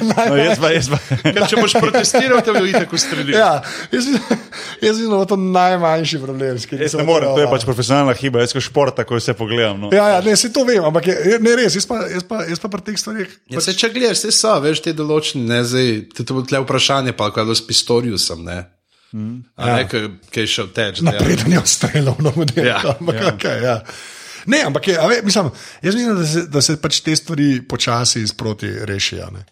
No, jaz pa, jaz pa. Ker [laughs] če boš protestiral, te bo itak ustrelil. Ja, jaz, mislim- jaz mislim, da bo to najmanjši problem. s katerim Jaz se ne bo morem, to je treba- pač profesionalna hiba, jaz kot športa, ko vse pogledam. No. Ja, ja, ne, se to vem, ampak je, je- ne res, jaz pa, jaz pa, jaz pa pri teh stvareh. Ja, se če gledaš, vse so, veš, te določene, ne zdaj, te to bo tle vprašanje, pa kaj s pistorju sem, ne. Mm. A ne, ja. kaj je šel teč. da ja. je- Preden je streljal na model. Ja, ampak, ja. Okay, ja. Ne, ampak je, a ve, mislim, jaz mislim, da se, da se pač te stvari počasi sproti rešijo. ne.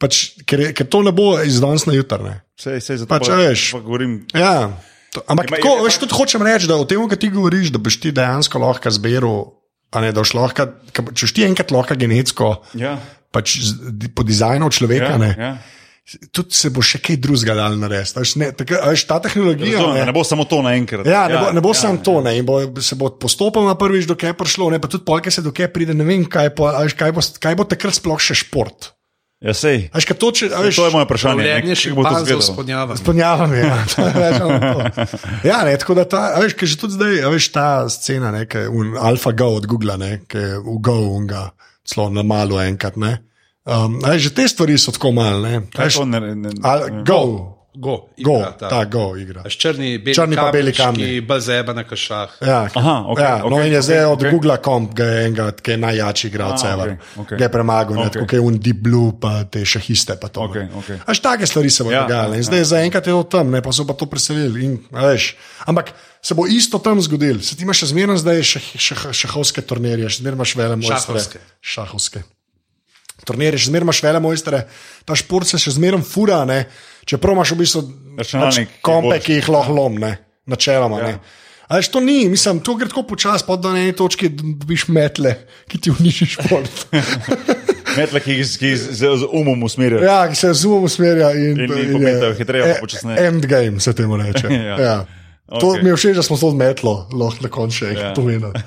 Pač, ker, je- ker to ne bo iz danes na jutrne. Sej, sej, zato Pa če veš. pa govorim. Ja. To, ampak Ima- tako, ima- veš, tudi hočem reči, da o tem, kar ti govoriš, da boš ti dejansko lahko zbiral, a ne da boš lahko, ka bo- če boš ti enkrat lahko genetsko, Ja, pač z- di- po dizajnu človeka, ja, ja, ne, ja. ja. tudi se bo še kaj drugega dal narediti. a veš, ne, tako, a Veš, ta tehnologija. Razumem, da ne bo samo to naenkrat. Ja, ne bo, ne bo ja, samo to, ne. in Bo, se bo postopoma prvič dokaj prišlo, ne pa tudi polk se dokaj pride, ne vem, kaj, po, a veš, kaj, bo, kaj bo takrat sploh še šport. Ja, sej. Až kaj to, če a veš, To je moje vprašanje. ne, Življenje še kako bo to bolj izgledalo. vzpodnjava. Sponjavam, ja. To je več ali manj to. ja ne, tako da ta, a veš, ker že tudi zdaj, a veš, ta scena, ne, ki je un- AlphaGo od Google, ne, ki je v Go unga, celo na malo enkrat, ne. Um, a veš, že te stvari so tako malne. Kaj to ne- ne- ne- Go, Go, go, igra, ta. ta Go igra. A s črni, beli Črni pa beli kamni. Bel zeba na kašah. Ja, Aha, ok, ja, no, ok, in je ok, zdaj od ok. okay. Google komp, ki je enega, ki je najjačji igralec Ah, ever. ok, ok. Ga je premagal, Ok. okay. kot je un Deep Blue, pa te šahiste. Pa to, ne. Ok, ok. A Veš, take stvari se bodo ja, Ja, dogajale. ja. In zdaj ja. zaenkrat je to tam, ne, pa so pa to preselili. In, a veš, ampak se bo isto tam zgodil. Se ti imaš še zmerno zdaj šah, šah, šahovske turnirje, še zmerno imaš vele mojstre. Šahovske. Šahovske. Turnirje, še zmerno imaš vele mojstre, ta šport se še zmerno fura, ne, čeprav imaš v bistvu pač Računalnik, ki kompe, vodiš. ki jih lahko lomne, načeloma. Ja. A veš, to ni, mislim, to gre tako počasi, pa do ene točke dobiš metle, ki ti uniči [laughs] šport. Metle, ki jih z- ki jih z z- z umom usmerjajo. ja, ki se z umom usmerja in, In- in je- pometajo hitreje, pa e- počasneje. Endgame se temu reče. [laughs] Ja. ja. Ja. To Okej. Ja. mi je všeč, da smo to odmetlo, lahko na koncu še enkrat povedali. [laughs]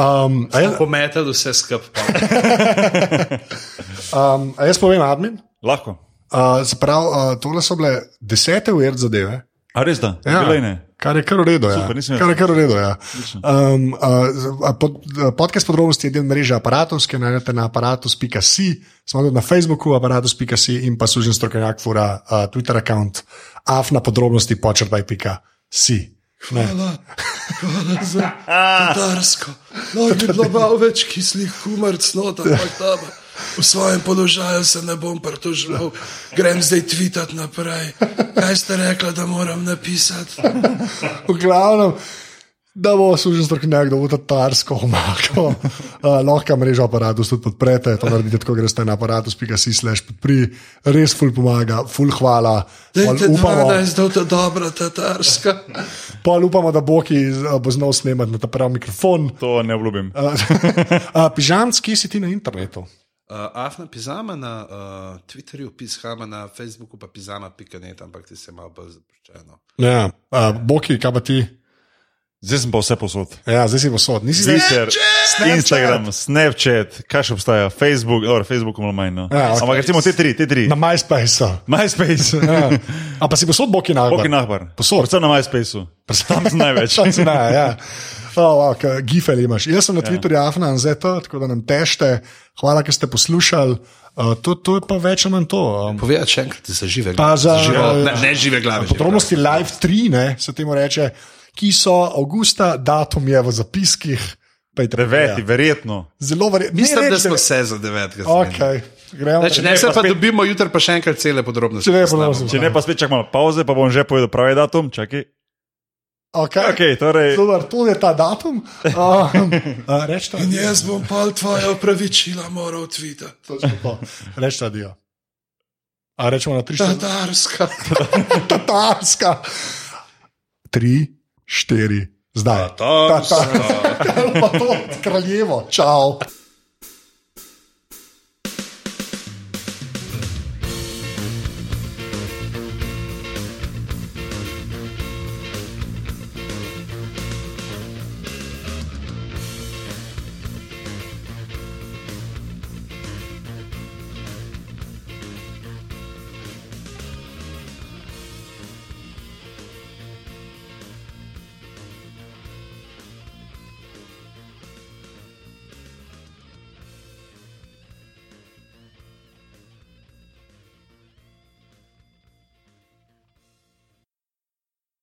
Um, a, ja. jaz, Pometel vse skupaj. um, a jaz povem, admin. Lahko. Uh, se pravi, uh, tole so bile desete ur zadeve. A res da? Ja. Kar je kar v redu. Ja. Super, nisem jaz. Kar je kar v redu ja. um, uh, pod, uh, podcast podrobnosti je del mreže aparatus, ki jo najdete na aparatus.si, smo tudi na Facebooku, aparatus.si in pa služen strokovnjak fura uh, Twitter račun, af na podrobnosti počrpaj.si. [laughs] Hvala, hvala za Ah. tatarsko. No, bi bilo malo več kislih kumaric, no, ampak dobro. V svojem položaju se ne bom pritožil, grem zdaj tvitati naprej. Kaj ste rekli, da moram napisati? V glavnem, da bo služen strokovnjak, da bo tatarsko omako. Uh, lahko mrežo aparatus tudi podprete, to naredite tako, greste na aparatus.si slash podpri, res ful pomaga, ful hvala. ful Dajte upamo. 12, da je to dobra tatarska. Pa upamo, da bo ki eh, bo znal snemati na ta pravi mikrofon. [laughs] To ne obljubim. Pižamc, kje si ti na internetu? Uh, Afna pizama na uh, Twitterju, pizama na Facebooku, pa pizama.net, ampak ti se malo bolj zapuščeno. Ja, uh, Boki, kaj pa ti? Zdaj sem pa vse posod. Ja, zdaj si posod. Nisi zdaj. Twitter, Snapchat! Instagram, Snapchat, kaj še obstaja, Facebook, dobro, Facebook malo manj. No. Ja, ok. Ampak recimo te tri, te tri. Na MySpaceu. MySpace, Ja. A pa si posod Boki na Boki nahbar. Posod. Predvsem na MySpaceu. Tam sem [laughs] največ. Ne, ja. oh, wow, k- Gifel imaš. Jaz sem na Twitterju ja. afna in zdaj to, tako da nam tešte. Hvala, ker ste poslušali. Uh, to, to je pa več ali manj to. Um, Povej še enkrat, da se žive Pa za- živo, ne, ne žive glave. žive Podrobnosti Live 3, ne, se temu reče, ki so avgusta, datum je v zapiskih. pa je treba Deveti, gledati. verjetno. Zelo verjetno. Mislim, da smo se za devetega. zmenili. Okay, gremo. Znači, ne, se pa dobimo jutri, pa še enkrat cele podrobnosti. Če ne, poznamo. ponovno. Če ne, pa spet čakamo pauze, pa bom že povedal pravi datum. Čakaj. Okay. Okay, torej, Dobar, to je ta datum. Uh, uh, Rečta, Jaz bom pa tvoje opravičila moral tvitati. Rečta, dio. A rečemo na 3, 4, Tatarska. tatarska. 3, [laughs] 4, zdaj. Tatarska. Pa to kraljevo, čau.